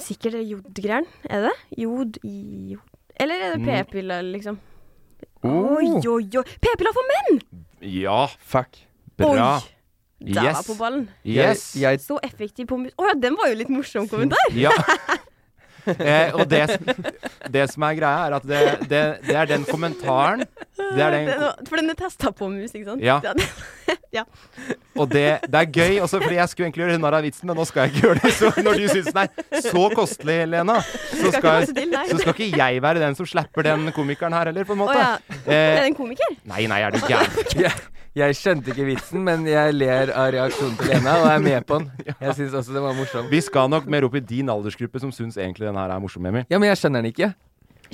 Sikkert det er jodgreier, er det det? Jod i jod. Eller Mm. er det p-piller, liksom? Oh. Oi, oi, oi. P-piller for menn! Ja, Fuck. bra. Oi! Der var Yes. på ballen. Yes. Jeg, Så effektiv på mus... Å ja, den var jo litt morsom kommentar! Ja. Eh, og det, det som er greia, er at det, det, det er den kommentaren Det er den, Den var- for den er testa på mus, ikke sant? Ja. det- Og det, det er gøy, også fordi jeg skulle egentlig gjøre narr av vitsen, men nå skal jeg ikke gjøre det. Så når du syns den er så kostelig, Lena, så skal, passe til, nei. så skal ikke jeg være den som slapper den komikeren her heller, på en Å måte. ja. Er det Eh, en komiker? nei, nei, er du gæren? Jeg skjønte ikke vitsen, men jeg ler av reaksjonen til Lena, og er med på den. Jeg syns også det var morsom. Vi skal nok mer opp i din aldersgruppe som syns egentlig den her er morsom, Emil. Ja, men jeg skjønner den ikke.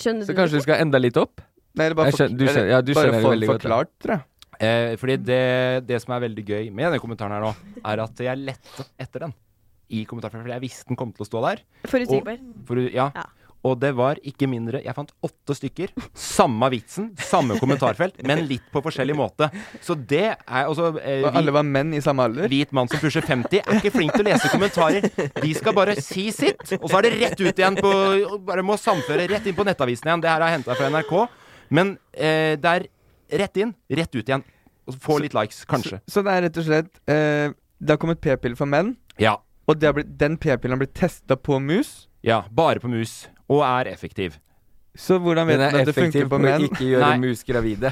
Skjønner Så du kanskje du skal enda litt opp? nei, det er bare Jeg skjønner- du skjønner- ja, du bare skjønner det for- veldig godt, ja. forklart, tror jeg. Eh, fordi det, det som er veldig gøy med denne kommentaren her nå, er at jeg lette etter den i kommentarfeltet, fordi jeg visste den kom til å stå der. det? Forutsigbar. For, ja. Ja. Og det var ikke mindre Jeg fant åtte stykker. Samme vitsen, samme kommentarfelt, men litt på forskjellig måte. Så det er altså eh, Og alle hvit, var menn i samme alder. hvit mann som pusher 50 er ikke flink til å lese kommentarer. De skal bare si sitt, og så er det rett ut igjen på og Bare må samføre rett inn på nettavisen igjen. Det her er henta fra NRK. Men eh, det er rett inn, rett ut igjen. Og få litt likes, kanskje. Så det er rett og slett eh, Det har kommet p-piller for menn, Ja. og det har blitt, den p-pillen har blitt testa på mus. ja. Bare på mus. Og er effektiv. Så hvordan vet Den man er at det funker effektiv på på å menn? ikke gjøre Nei. mus gravide.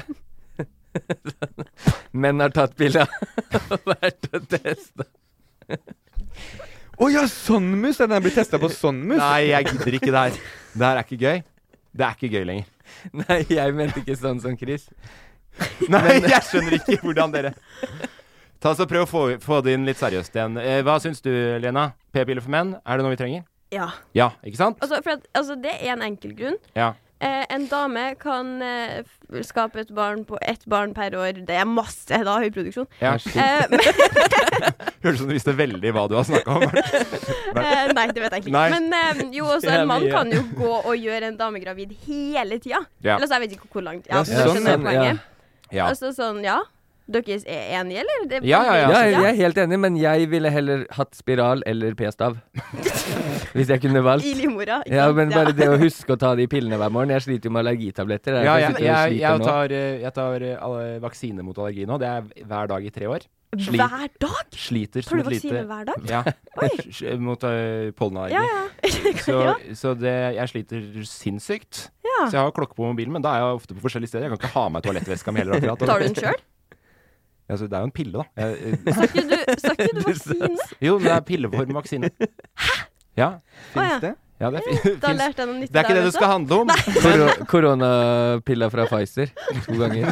Menn har tatt bilde og vært og testa. Å ja, sånn mus! Ja, Den har blitt testa på sånn mus. Nei, jeg gidder ikke det her. Det her er ikke gøy. Det er ikke gøy lenger. Nei, jeg mente ikke sånn som Chris. Nei, jeg skjønner ikke hvordan dere Ta så Prøv å få, få det inn litt seriøst igjen. Eh, hva syns du, Lena? P-piller for menn, er det noe vi trenger? Ja. Ja, ikke sant? Altså, for at, altså, det er en enkel grunn. Ja. Eh, en dame kan eh, f- skape et barn på ett barn per år. Det er masse, da, høyproduksjon. ja. Eh, men, Høres ut som du visste veldig hva du har snakka om. eh, nei, det vet jeg ikke. Nei. Men eh, jo, også Det er en mann mye. kan jo gå og gjøre en dame gravid hele tida. Ja. Ellers jeg vet ikke hvor langt. Ja, Ja, du sånn, skjønner ja. poenget. Ja. Altså sånn, ja. Dere er enige, eller? Det- Ja, ja, ja. jeg er helt enig, men jeg ville heller hatt spiral eller p-stav. Hvis jeg kunne valgt. I livmora, ikke Ja, sant? men bare Ja. det å huske å ta de pillene hver morgen. Jeg sliter jo med allergitabletter. Ja, jeg, sitter og jeg, sliter jeg, nå. tar, eh, jeg tar eh, alle vaksine mot allergi nå. Det er hver dag i tre år. Sli- Hver dag? Sliter Tar som du et lite vaksine hver dag? Ja. Sj- Mot eh, pollenallergi. Ja, ja. Så, ja. så det, jeg sliter sinnssykt. Ja. Så jeg har klokke på mobilen, men da er jeg ofte på forskjellige steder. Jeg kan ikke ha med toalettveska mi heller. akkurat. Tar du den sjøl? Altså, det er jo en pille, da. Jeg, eh, Sa ikke du, sa ikke du vaksine? jo, men det er pilleformvaksine. Hæ? Ja, Å ja. ja det er, Da finnes- lærte jeg noe nytt det er ikke der det det også. skal handle om. Koro koronapilla fra Pfizer to ganger.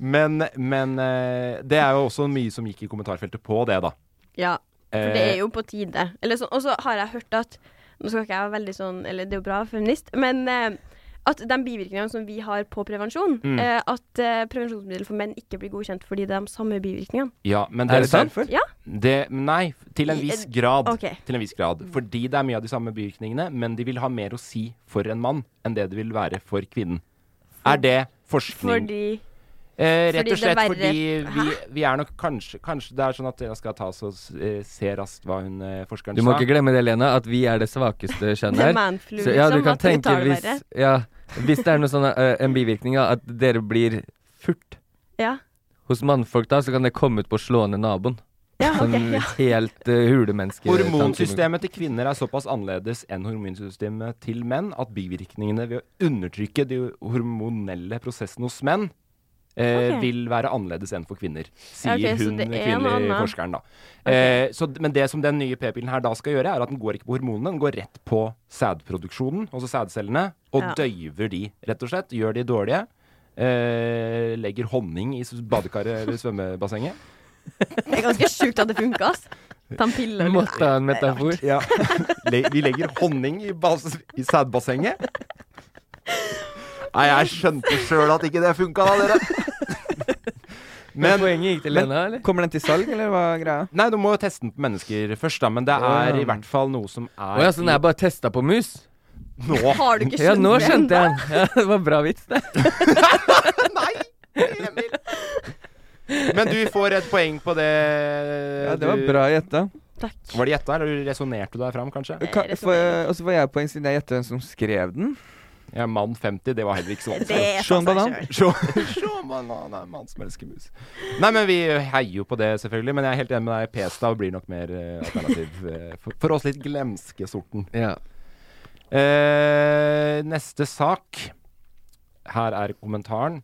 Men, men eh, det er jo også mye som gikk i kommentarfeltet på det, da. Ja, for Eh, det er jo på tide. Eller sånn- Og så har jeg hørt at Nå skal ikke jeg være veldig sånn Eller det er jo bra å være feminist, men eh, at de bivirkningene som vi har på prevensjon, Mm. eh, at eh, prevensjonsmidler for menn ikke blir godkjent fordi det er de samme bivirkningene. Ja, men Er det sant? Ja. Det, nei, til en I- viss grad. ok. Til en viss grad. Fordi det er mye av de samme bivirkningene, men de vil ha mer å si for en mann enn det det vil være for kvinnen. Er det forskning? Fordi eh, rett fordi det og slett er verre- fordi vi, vi er nok kanskje Kanskje det er sånn at jeg skal ta så, eh, se raskt hva hun eh, forskeren Du må sa. ikke glemme det, Lena, at vi er det svakeste kjønnet Det her. er manflu, Så, ja, du liksom, kan at vi tenke tar det hvis, verre. ja, hvis det er noe sånn, eh, en bivirkning av at dere blir furt Ja. hos mannfolk, da, så kan det komme ut på å slå ned naboen. Ja, Ah, ok. Mm. Sånn Ja. helt eh, hulemenneske. Hormonsystemet til kvinner er såpass annerledes enn hormonsystemet til menn at bivirkningene ved å undertrykke de hormonelle prosessene hos menn eh, Ok. vil være annerledes enn for kvinner, Ja, sier ok, så hun det er noe kvinnelige annet. forskeren, da. Eh, så, d- men det som den nye p-pillen her da skal gjøre, er at den går ikke på hormonene, den går rett på sædproduksjonen, altså sædcellene, og Ja. døyver de, rett og slett. Gjør de dårlige. Eh, legger honning i s- badekaret eller svømmebassenget. Det er ganske sjukt at det funka, ass. Ta en pille eller- Måtte ha en metafor. Ja. Le vi legger honning i, bas- i sædbassenget. Nei, jeg skjønte sjøl at ikke det funka, da, dere. Men Men poenget gikk til men- Lena, eller? Kommer den til salg, eller hva er greia? Nei, du må jo teste den på mennesker først, da. Men det er i hvert fall noe som er Å ja, så den er bare testa på mus? i- nå. Har du ikke Ja, skjønt nå det skjønte ennå? jeg den. Ja, det var bra vits, det. Nei, Emil. Men du får et poeng på det. Ja, det var bra gjetta. Takk. Du, var det gjetta, eller resonnerte du deg fram, kanskje? Ka- får- Og så får jeg poeng siden jeg gjetter hvem som skrev den. Ja, Mann 50, det var heller ikke så vanskelig. Det er Sean faen seg Banan. selv. Sjå, sjå banan er mann som elsker mus. Nei, men vi heier jo på det, selvfølgelig. Men jeg er helt enig med deg. P-stav blir nok mer eh, alternativ eh, for, for oss litt glemske sorten. Ja. Eh, neste sak. Her er kommentaren.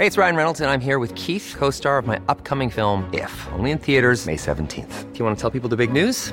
Hey, it's Ryan Reynolds, and I'm here with Keith, co star of my upcoming film, If, only in theaters, May 17th. Do you want to tell people the big news?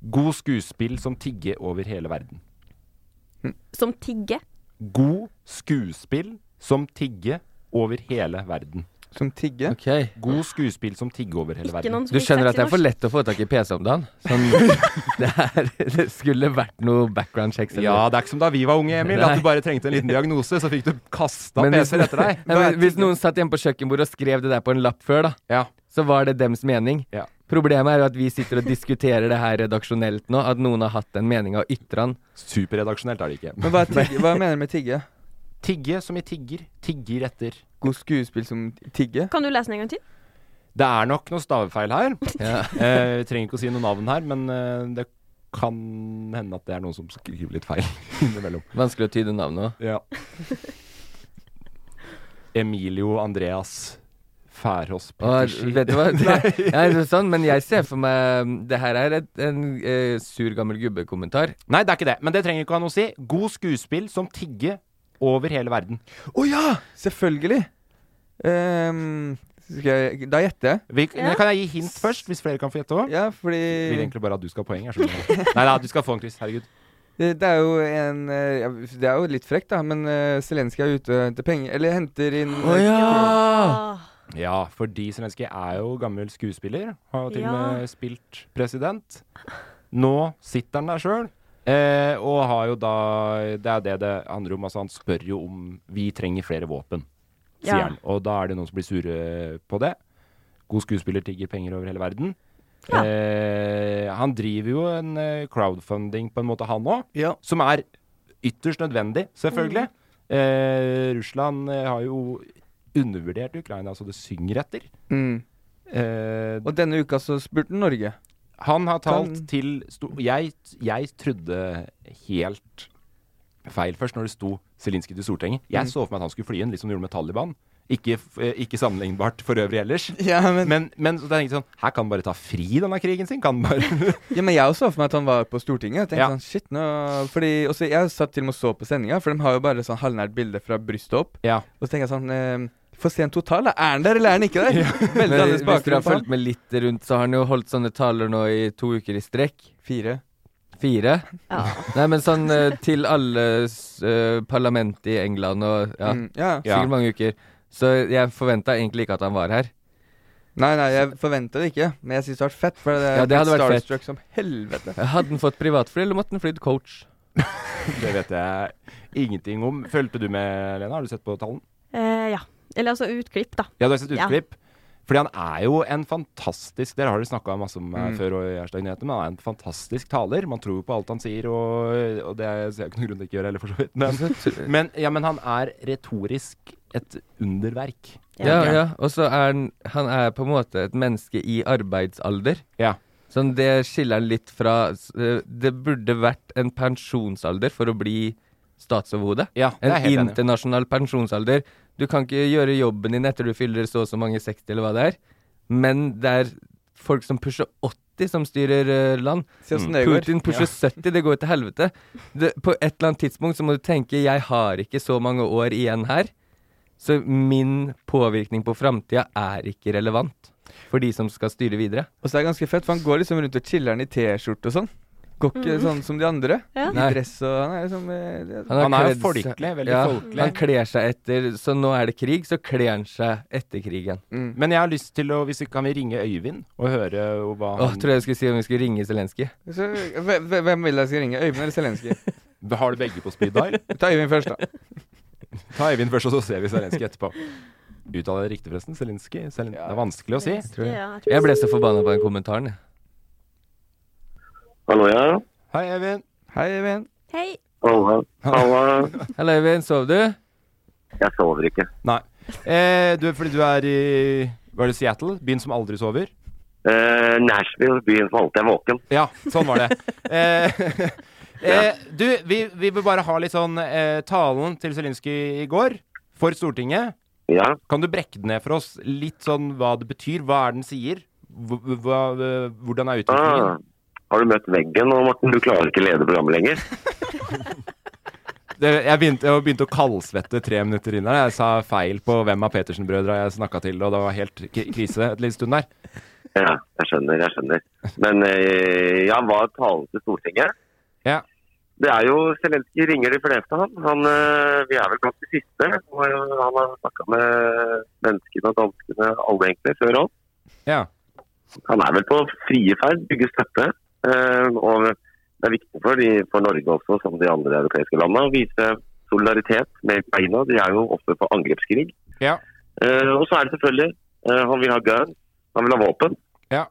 God skuespill som tigger over hele verden. Som tigge. God skuespill som tigger over hele verden. Som tigge? God skuespill som tigger over hele verden. Du skjønner at det er for lett å få tak i PC om dagen? Sånn, det, er, det skulle vært noe background checks. eller- Ja, det er ikke som da vi var unge, Emil. At Nei. du bare trengte en liten diagnose, så fikk du kasta Men PC-er etter deg. Nei, men hvis noen satt hjemme på kjøkkenbordet og skrev det der på en lapp før, da, så var det dems mening. Problemet er jo at vi sitter og diskuterer det her redaksjonelt nå, at noen har hatt en mening og ytra den. Superredaksjonelt er det ikke. Men hva, er tigge, hva mener du med tigge? Tigge som i tigger. Tigger etter. God skuespill som tigge? Kan du lese den en gang til? Det er nok noe stavefeil her. Ja. Eh, vi trenger ikke å si noe navn her, men eh, det kan hende at det er noen som skriver litt feil innimellom. Vanskelig å tyde navnet òg. Ja. Emilio Andreas Færås Og, Pettersen. vet du hva? Det, Nei. ja, det er sånn, men jeg ser for meg um, Det her er et, en eh, sur gammel gubbe-kommentar. Nei, det er ikke det. Men det trenger ikke å ha noe å si. God skuespill som tigge over hele verden. Å ja! Selvfølgelig! Ehm, skal jeg, da gjetter jeg. Men Kan jeg gi hint først, hvis flere kan få gjette òg? Ja, fordi Vil egentlig bare at du skal ha poeng. Jeg skjønner. Nei da, du skal få en, Chris. Herregud. Det, det er jo en eh, ja, Det er jo litt frekt, da, men uh, Zelenskyj er ute og henter penger Eller henter inn eh, Ja, fordi Zelenskyj er jo gammel skuespiller. Har jo til og Ja. med spilt president. Nå sitter han der sjøl. Eh, og har jo da Det er det det handler om. Altså, han spør jo om vi trenger flere våpen, sier Ja. han. Og da er det noen som blir sure på det. God skuespiller tigger penger over hele verden. Ja. Eh, han driver jo en eh, crowdfunding på en måte, han òg, som er ytterst nødvendig, selvfølgelig. Mhm. Eh, Russland eh, har jo undervurdert Ukraina, så det synger etter. Eh, Mm. Og denne uka så spurte han Norge. Han har talt Kan- til sto, jeg, jeg trodde helt feil først når det sto Zelenskyj til Stortinget. Jeg Mm. så for meg at han skulle fly inn, litt som de gjorde med Taliban. Ikke, f- eh, ikke sammenlignbart for øvrig ellers. Ja, men, men, så tenkte jeg sånn Her kan han bare ta fri denne krigen sin. Kan han bare Ja, men jeg også så for meg at han var på Stortinget. Jeg tenkte Ja. sånn, shit, nå Fordi og så jeg satt til og med og så på sendinga, for de har jo bare sånn halvnært bilde fra brystet opp. Og så tenker jeg sånn eh, Få se en total, da. Er han der, eller er han ikke der? Men Veldig annerledes hvis dere har bakgrunn. for han. fulgt med litt rundt, så har han jo holdt sånne taler nå i to uker i strekk. Fire. Fire? Ja. Nei, men sånn eh, til alle s- eh, parlament i England og ja, Mm, ja. Ja. sikkert mange uker. Så jeg forventa egentlig ikke at han var her. Nei, nei, jeg forventa det ikke, men jeg syns det har vært fett. For det, Ja, det hadde vært fett. starstruck som helvete. Hadde han fått privatfly, eller måtte han flydd coach? Det vet jeg ingenting om. Fulgte du med, Lena? Har du sett på tallene? Eh, ja. Eller altså utklipp, da. Ja, du har sett Ja. utklipp? Fordi han er jo en fantastisk Dere har dere snakka masse om eh, Mm. før, og i Hashtag Nyheter, men han er en fantastisk taler. Man tror jo på alt han sier, og, og det ser jeg ikke noen grunn til ikke å gjøre heller, for så vidt. Men, men, ja, men han er retorisk et underverk. Ja, ja. Og så er han Han er på en måte et menneske i arbeidsalder. Ja. Sånn, det skiller han litt fra s- eh, Det burde vært en pensjonsalder for å bli statsoverhode. Ja, det er en jeg helt enig i. internasjonal pensjonsalder. Du kan ikke gjøre jobben din etter du fyller så og så mange 60, eller hva det er. Men det er folk som pusher 80 som styrer eh, land. Se åssen Mm. det går. Putin pusher Ja. 70, det går til helvete. Det, på et eller annet tidspunkt så må du tenke jeg har ikke så mange år igjen her, så min påvirkning på framtida er ikke relevant for de som skal styre videre. Og så er det ganske fett, for han går liksom rundt og chiller'n i T-skjorte og sånn. Går ikke Mhm. sånn som de andre. Ja. I Nei. dress og Han er liksom eh, har kledd seg- ja, Han Han kler seg etter Så nå er det krig, så kler han seg etter krigen. Mm. Men jeg har lyst til å Hvis vi kan vi ringe Øyvind og høre og hva Åh, tror jeg jeg skulle si om vi skulle ringe Zelenskyj. Så, hve- hve- hvem vil jeg skal ringe? Øyvind eller Zelenskyj? Har du begge på speed dial? Ta Øyvind først, da. Ta Øyvind først, og så ser vi Zelenskyj etterpå. Uttaler jeg det riktig, forresten? Zelenskyj? Zelen det er vanskelig å si. Tror jeg. jeg ble så forbanna på den kommentaren. jeg. Hallo, ja. Hei, Øyvind. Hei, Øyvind. Hei. Halla. Halla. Hallo, Øyvind. Sov du? Jeg sover ikke. Nei. Eh, du, fordi du er i Var det Seattle? Byen som aldri sover? Eh, Nashville, byen som alltid er våken. Ja, sånn var det. eh, eh, du, vi, vi vil bare ha litt sånn eh, talen til Zelinskyj i går for Stortinget. Ja. Kan du brekke den ned for oss? Litt sånn hva det betyr? Hva er den sier? Hva, hva, eh, hvordan er utviklingen? Ah, Har du møtt veggen nå, Morten? Du klarer ikke å lede programmet lenger. Det, jeg, begynte, jeg begynte å kaldsvette tre minutter inn her. Jeg sa feil på hvem av Petersen-brødra jeg snakka til, og det var helt k- krise et liten stund der. Ja, jeg skjønner, jeg skjønner. Men eh, ja, hva er talen til Stortinget? Ja. Det er jo Zelenskyj ringer de fleste, han. han eh, vi er vel blant de siste. og Han har snakka med svenskene og danskene, alle egentlig, før oss. Ja. Han er vel på frie ferd, bygger støtte. eh, og det er viktig for, de, for Norge også, som de andre europeiske landene, å vise solidaritet med Ukraina. De er jo offer for angrepskrig. Ja. Eh, og så er det selvfølgelig eh, Han vil ha gun, han vil ha våpen. Ja.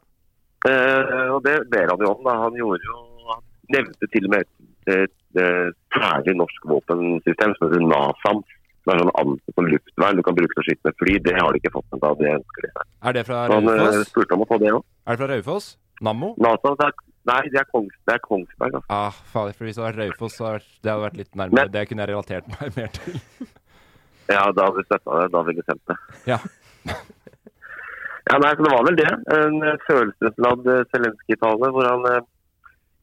Eh, og det ber han jo om. Da. Han gjorde jo han nevnte til og med et- et eh, særlig norsk våpensystem som heter NASAM. Som er sånn anti for luftvern du kan bruke til å skyte med fly. Det har de ikke fått ennå. Det ønsker de seg. Er det fra Så Han eh, Raufoss? spurte om å få det òg. Er det fra Raufoss? Nammo? NASA, det er, nei, det er, Kongs, det er Kongsberg. Altså. Ah, fader, for hvis det hadde vært Raufoss, så hadde det hadde vært litt nærmere. Det kunne jeg relatert meg mer til. Ja, da hadde vi støtta det. Da ville vi sendt det. Ja. Ja, nei, så Det var vel det. En eh, følelsesladd eh, Zelenskyj-tale hvor han eh,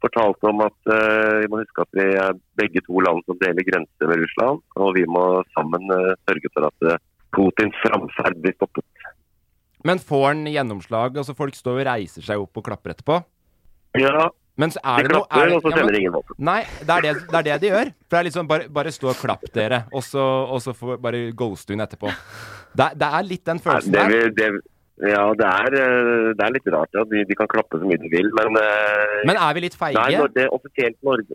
fortalte om at eh, vi må huske at vi er begge to land som deler grenser med Russland, og vi må sammen eh, sørge for at eh, Putins framferd blir stoppet. Men får han gjennomslag? Altså, folk står og reiser seg opp og klapper etterpå. Ja, Men så er de det noe klapper, er det- og så ja, men- sender de ingen våpen. Nei, det er det, det er det de gjør. For det er liksom bare, bare stå og klapp, dere. Og så, og så får bare ghoste hun etterpå. Det, er- det er litt den følelsen Det, der. vil- det, ja, det er, eh, det er litt rart at de, de kan klappe så mye de vil, men eh, Men er vi litt feige? Nei, når det er offisielt Norge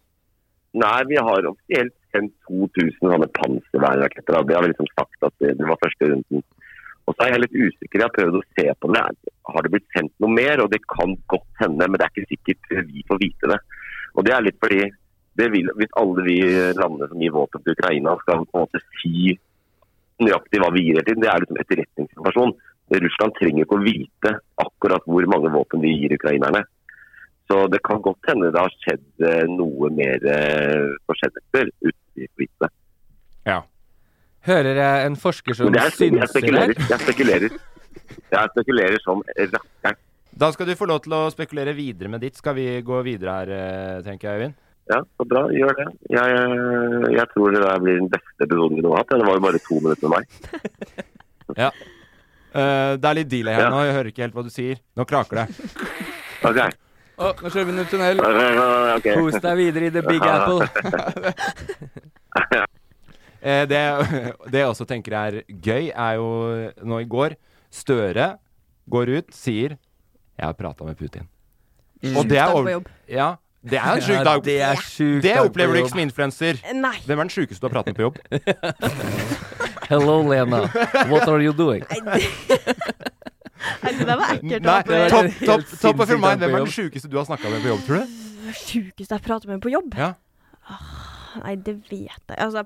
Nei, vi har offisielt sendt 2000 sånne panservernraketter. da. Det har vi liksom sagt at det, det var første runden. Og så er jeg litt usikker. Jeg har prøvd å se på det. Har det blitt sendt noe mer? Og det kan godt hende, men det er ikke sikkert vi får vite det. Og det er litt fordi det vil, hvis alle vi landene som gir våpen til Ukraina skal på en måte si nøyaktig hva vi gir hele tiden, det er liksom etterretningsinformasjon. Russland trenger ikke å vite akkurat hvor mange våpen vi gir ukrainerne. Så det kan godt hende det har skjedd eh, noe mer eh, forsendelser uten å vite det. Hører jeg en forsker som Men det er- jeg synser spekulerer. her? Jeg spekulerer. Jeg spekulerer som rakkeren. Da skal du få lov til å spekulere videre med ditt. Skal vi gå videre her, eh, tenker jeg, Øyvind? Ja, så bra. Gjør det. Jeg, eh, jeg tror det der blir den beste episoden vi nå har hatt. Det var jo bare to minutter med meg. Ja. Eh, det er litt delay her Ja. nå. Jeg hører ikke helt hva du sier. Nå kraker det. Ok. Å, nå kjører vi en tunnel. Ok. Kos deg videre i The Big Ja. Apple. Eh, det, det jeg også tenker er gøy, er jo nå i går Støre går ut, sier 'Jeg har prata med Putin'. Sjuk dag på jobb. Ja, det er en sjuk Mm. Ja, dag. det er sjuk Det dag på opplever du jobb. ikke som influenser. Nei. Hvem er den sjukeste du har pratet med på jobb? Hello, Lena. What are you doing? Nei, det der var ekkelt. Nei, å ha på- topp top, top of your mind. sinnssykt dag Hvem er på jobb. den sjukeste du har snakka med på jobb, tror du? Sjukeste jeg prater med på jobb? Ja. Ah, Nei, det vet jeg Altså jeg-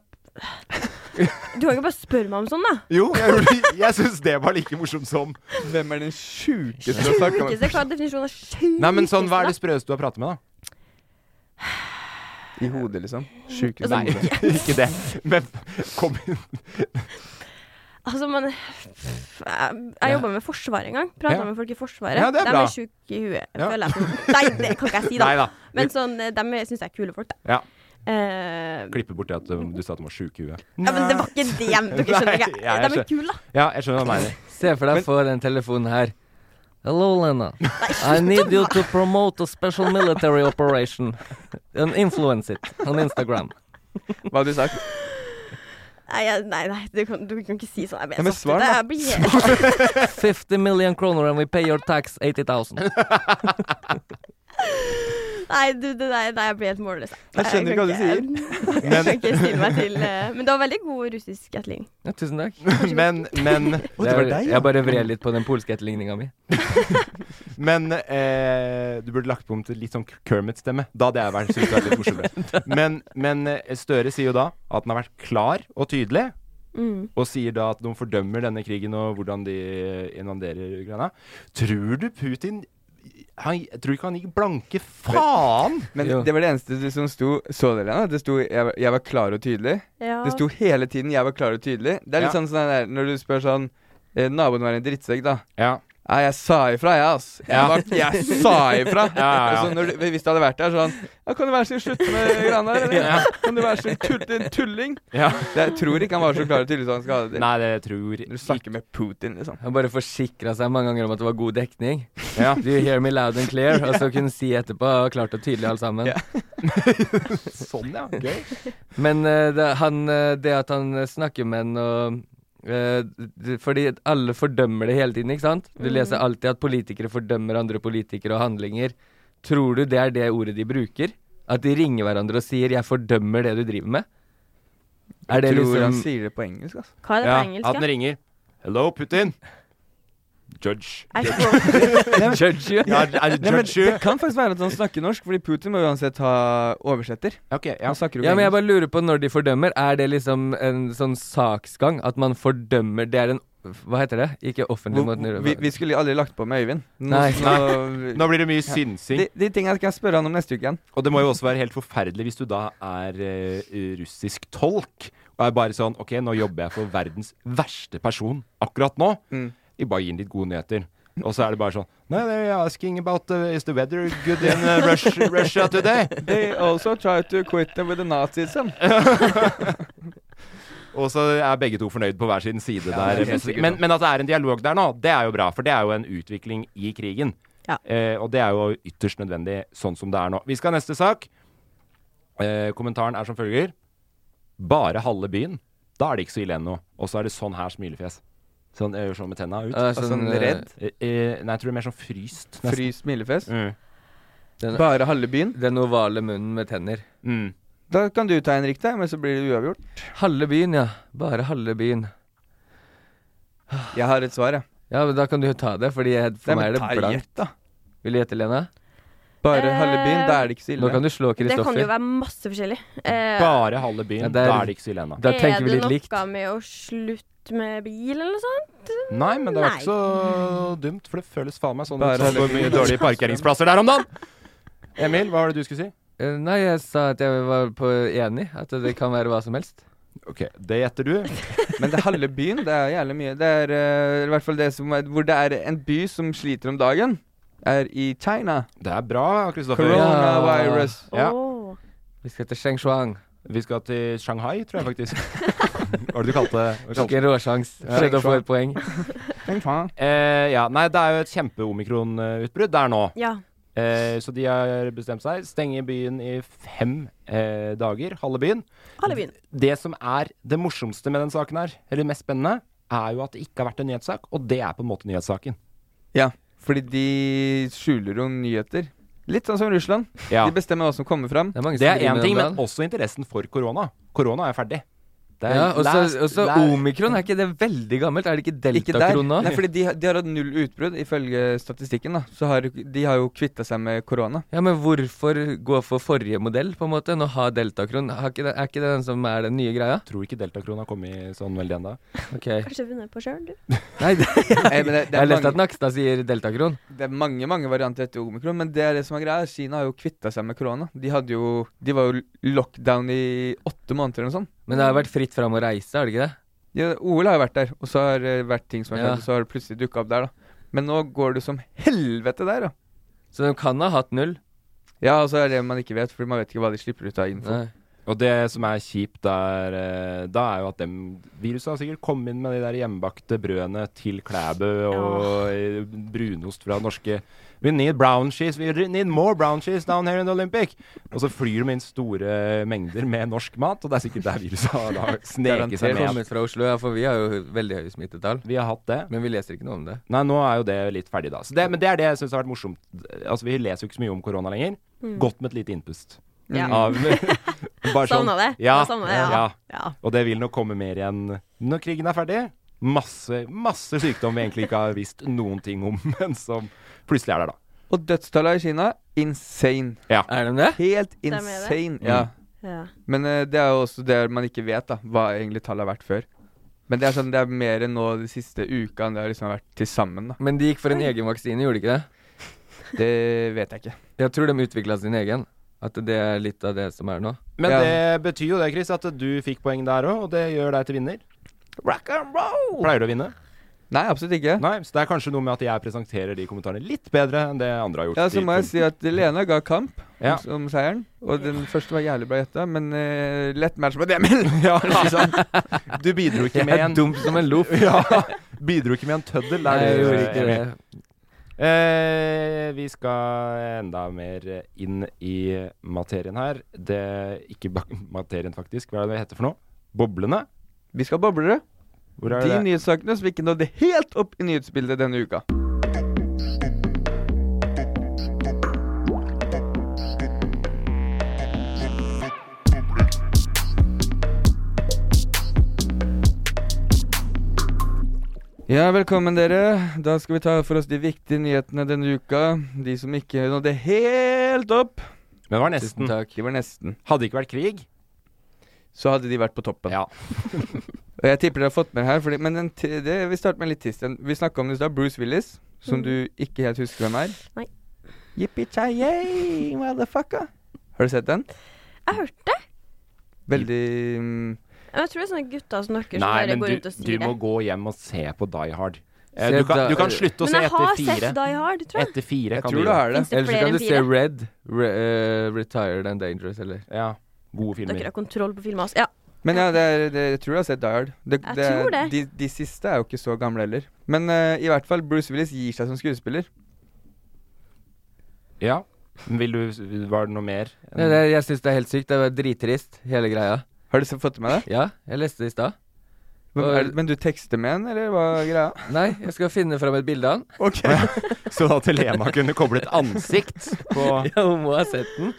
Du kan ikke bare spørre meg om sånn, da. Jo, jeg, jeg syns det var like morsomt som Hvem er den sjukeste du har snakka Sjukeste med? Hva er definisjonen av sjukeste? Nei, men sånn, Hva er da? det sprøeste du har pratet med, da? I hodet, liksom. Sjukeste i Altså, hodet. ikke det. Men kom inn. Altså, man Jeg, jeg jobba med Forsvaret en gang. Prata Ja. med folk i Forsvaret. Ja, det er de bra. er sjuke i huet, Ja. føler jeg. Nei, det kan ikke jeg si, da. Neida. Men sånn, de syns jeg er kule folk, da. Ja. Eh, Klippe bort det at um, du sa at du var sjuk i huet. ja, men det var ikke det jeg Dere skjønner Nei, ikke. ja, jeg De er skjø- kule, da. Ja, jeg skjønner hva du mener. Se for deg for den telefonen her. Hello, Lena. I need you to promote a special military operation and influence it on Instagram. Hva hadde du sagt? Nei, jeg- nei, nei du, kan, du kan ikke si sånn. Jeg blir Ja, men satt svar ut. da. Jeg blir- 50 million kroner and we pay your tax 80,000. Nei, du, det der, nei, jeg blir helt målløs. Jeg skjønner ikke hva du sier. Jeg kan ikke stille meg til eh, Men det var veldig god russisk etterligning. Ja, tusen takk. Men, men Det er- Jeg bare vred litt på den polske etterligninga mi. Men eh, du burde lagt på om til litt sånn Kermit-stemme. Da hadde jeg vært, syntes det var litt morsommere. Men, men eh, Støre sier jo da at den har vært klar og tydelig, Mm. og sier da at de fordømmer denne krigen og hvordan de invaderer Ukraina. Tror du Putin han, Tror du ikke han gikk blanke faen? Men Jo. det var det eneste det som sto Så dere den? Det sto jeg, var- 'jeg var klar og tydelig'. Ja. Det sto hele tiden 'jeg var klar og tydelig'. Det er litt Ja. sånn sånn der, når du spør sånn eh, Naboen var en drittsekk, da. Ja. Nei, jeg sa ifra, jeg, ass. Jeg, Ja. var, jeg sa ifra. Ja, ja, ja. Og så når, du- hvis det hadde vært der, sånn ja, 'Kan du være så snill å slutte med greiene der, eller? Ja. Kan du være så tull, en tulling?' Ja. Jeg tror ikke han var så klar til å skade det. Nei, det tror Du snakker med Putin, liksom. Han bare forsikra seg mange ganger om at det var god dekning. Ja. Do you hear me loud and clear? Og så kunne si etterpå ja, klart og tydelig, alle sammen. Sånn, ja. Gøy. Men eh, det, han, eh, det at han eh, snakker med en og eh, d- Fordi alle fordømmer det hele tiden, ikke sant? Du Mm. leser alltid at politikere fordømmer andre politikere og handlinger. Tror du det er det ordet de bruker? At de ringer hverandre og sier 'jeg fordømmer det du driver med'? Er det jeg tror liksom han sier det på engelsk, ass. Hva er det på Ja, engelsk? at den ringer. Hello, Putin. Judge. Er det Nei, Judge you? Ja, er det Nei, men judge you? Det kan faktisk være at han snakker norsk, fordi Putin må uansett ha oversetter. Han snakker jo Ja, men jeg engelsk. bare lurer på når de fordømmer. Er det liksom en sånn saksgang? At man fordømmer Det er en Hva heter det? Ikke offentlig Hvor- mot nødvendig- vi, vi skulle aldri lagt på med Øyvind. Nei. Nå blir det mye synsing. De, de tingene skal jeg spørre han om neste uke igjen. Og det må jo også være helt forferdelig hvis du da er eh, russisk tolk og er bare sånn OK, nå jobber jeg for verdens verste person akkurat nå. Vi bare gir inn litt gode nyheter. Og så er det bare sånn No, they're asking about uh, is the weather good in uh, Rus- Russia today? They also try to quit them with the um. Nazism. Og så er begge to fornøyd på hver sin side Ja, der. det er helt sikkert. Men, men at det er en dialog der nå, det er jo bra. For det er jo en utvikling i krigen. Eh, og det er jo ytterst nødvendig sånn som det er nå. Vi skal ha neste sak. Eh, kommentaren er som følger. Bare halve byen. Da er det ikke så ille ennå. Og så er det sånn her smilefjes. Sånn, jeg gjør sånn med tenna ut. Eh, sånn, Sånn redd? Eh, eh, nei, jeg tror det er mer sånn fryst. nesten. Frys smilefjes. Mm. Bare halve byen? Den ovale munnen med tenner. Mm. Da kan du ta en riktig, men så blir det uavgjort. Halve byen, ja. Bare halve byen. Jeg har et svar, jeg. Ja, men da kan du jo ta det, fordi jeg, for Nei, meg men er ta det et blankt. gjett, da. Vil du gjette, Lena? Bare halve byen, da er det ikke så ille. Nå kan du slå Det kan jo Kristoffer. være masse forskjellig. Eh, Bare halve byen. Ja, der- da er det ikke så ille ennå. Da tenker vi litt Er det likt. noe med å slutte med bil eller noe sånt? Nei, men det var ikke Nei. så dumt, for det føles faen meg sånn ut. Bare som halve hvor mye byen. dårlige parkeringsplasser der om dagen! Emil, hva var det du skulle si? Eh, Nei, jeg sa at jeg var på enig. At det kan være hva som helst. Ok, det gjetter du. Men det er halve byen, det er jævlig mye. Det er eh, i hvert fall det som er Hvor det er en by som sliter om dagen, er i China. Det er bra, Kristoffer. Coronavirus. Ja. Åh. Vi skal til Shengshuang. Vi skal til Shanghai, tror jeg faktisk. Hva var det du kalte det? Hva kalte Tok en råsjans. Ja. Prøvde å få et poeng. Eh, ja, nei, det er jo et kjempeomikron-utbrudd der nå. Ja. Eh, så de har bestemt seg. Stenger byen i fem eh, dager. Halve byen. Halve byen. Det som er det morsomste med den saken her, eller det mest spennende, er jo at det ikke har vært en nyhetssak, og det er på en måte nyhetssaken. Ja, fordi de skjuler jo nyheter. Litt sånn som Russland. Ja. De bestemmer hva som kommer fram. Det er én ting, men også interessen for korona. Korona er ferdig. Det er Ja, og last- så- og så det er- omikron, er ikke det veldig gammelt? Er det ikke Ikke der. deltakrona? Nei, fordi de, har- de har hatt null utbrudd, ifølge statistikken. da Så har De har jo kvitta seg med korona. Ja, men hvorfor gå for forrige modell, på en måte, enn å ha deltakron? Har ikke det- Er ikke det den som er den nye greia? Tror ikke deltakrona kom i sånn veldig ennå. Ok. Kanskje funnet på sjøl, du. Nei, det, Nei, men det- det er jeg har lest mange- at Nakstad sier deltakron. Det er mange mange varianter etter omikron, men det er det som er greia. Kina har jo kvitta seg med korona. De, hadde jo, de var jo lockdown i åtte måneder eller noe sånt. Men det har vært fritt fram å reise, har det ikke det? Ja, OL har jo vært der, og så har det vært ting som har Ja. skjedd, og så har det plutselig dukka opp der, da. Men nå går det som helvete der, da. Så de kan ha hatt null. Ja, og så er det man ikke vet, fordi man vet ikke hva de slipper ut av info. Nei. Og det som er kjipt, er, eh, da er jo at dem viruset har sikkert kommet inn med de der hjemmebakte brødene til Klæbø og eh, brunost fra norske We need brown cheese, we re- need more brown cheese down here in the Olympic. Og så flyr de inn store mengder med norsk mat, og det er sikkert der viruset har da sneket seg med. Kommet fra Oslo, ja, for vi har jo veldig høye smittetall. Vi har hatt det. Men vi leser ikke noe om det. Nei, nå er jo det litt ferdig, da. Så det, men det er det jeg syns har vært morsomt. Altså, vi leser jo ikke så mye om korona lenger. Mm. Godt med et lite innpust. Ja. Av, bare sånn. Savna det. Ja, Jeg savna det, ja. Ja. Og det vil nok komme mer igjen når krigen er ferdig. Masse, masse sykdom vi egentlig ikke har visst noen ting om, men som plutselig er der, da. Og dødstallene i Kina insane. Ja. Er de det? Helt er det. insane. Mm. Ja. Ja. Men eh, det er jo også det man ikke vet, da. Hva egentlig tallet har vært før. Men det er sånn, det er mer enn nå de siste uka enn det har liksom vært til sammen, da. Men de gikk for en egen vaksine, gjorde de ikke det? Det vet jeg ikke. Jeg tror de utvikla sin egen. At det er litt av det som er nå. Men Ja. det betyr jo det, Chris, at du fikk poeng der òg, og det gjør deg til vinner. Rock and roll! Pleier du å vinne? Nei, absolutt ikke. Nei, Så det er kanskje noe med at jeg presenterer de kommentarene litt bedre enn det andre har gjort. Ja, så De må jeg kom- si at Lena ga kamp om, Ja. om seieren. Og den første var jævlig bra gjetta, men eh, lett match mot Emil! Ja, ikke sant? Du bidro ikke med Jeg er en dum som en loff. ja, Bidro ikke med en tøddel. det er Nei, det jeg du gjorde ikke Emil. Eh, vi skal enda mer inn i materien her. Det Ikke bak- materien, faktisk. Hva er det det heter for noe? Boblene? Vi skal boble, Hvor er De det? nyhetssakene som ikke nådde helt opp i nyhetsbildet denne uka. Ja, velkommen dere. Da skal vi ta for oss de viktige nyhetene denne uka. De som ikke nådde helt opp. Men var nesten. Tusen takk. De var nesten. Hadde det ikke vært krig, så hadde de vært på toppen. Ja. Og jeg tipper dere har fått med her, fordi, men den, t- det, vi starter med en litt trist en. Vi snakka om det i stad. Bruce Willis, som Mm. du ikke helt husker hvem er. Nei. Yippee-ki-yay, motherfucker. Har du sett den? Jeg hørte det. Veldig mm, Men Jeg tror det er sånne gutter som dere som Nei, bare men går du, rundt og du sier det. må gå hjem og se på Die Hard. Eh, Se Du kan, Da- du kan slutte å Men se jeg etter har fire. sett Die Hard, tror jeg. Etter fire Jeg kan tror du du har gjøre. det. Finnes Eller så det flere kan enn du se fire? Red, re, eh, Retired and Dangerous, eller Ja. Gode Dere filmer. har kontroll på filmer. Altså. Ja. Men ja, det er, det, jeg tror jeg har sett Die Hard. Det, Jeg er- tror det. De, de siste er jo ikke så gamle heller. Men eh, i hvert fall, Bruce Willis gir seg som skuespiller. Ja. Vil du, var det noe mer? Nei, det, Jeg syns det er helt sykt. Det var drittrist, hele greia. Har du så fått med deg det? Ja, jeg leste det i stad. Men, Og- er, men du tekster med en, eller hva er greia? Nei, jeg skal finne fram et bilde av den. Ok. Så da Telema kunne koble et ansikt på Ja, hun må ha sett den.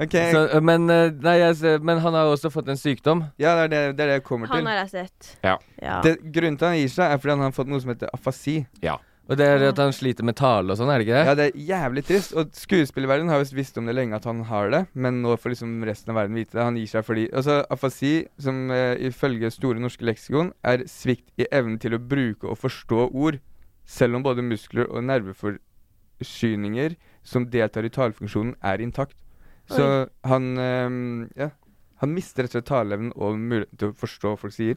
Ok, Så, men, eh, nei, jeg, ser- men han har også fått en sykdom. Ja, det er det, det, er det jeg kommer til. Han har jeg sett. Ja. Ja. Det, grunnen til at han gir seg, er fordi han har fått noe som heter afasi. ja. Og det er at han sliter med tale og sånn, er det ikke det? Ja, det er jævlig trist. Og skuespillerverdenen har visst visst om det lenge at han har det, men nå får liksom resten av verden vite det. Han gir seg fordi Altså, afasi, som eh, ifølge Store norske leksikon, er svikt i evnen til å bruke og forstå ord, selv om både muskler og nerveforsyninger som deltar i talefunksjonen, er intakt. Så han eh, Ja. Han mister rett og slett taleevnen og muligheten til å forstå hva folk sier.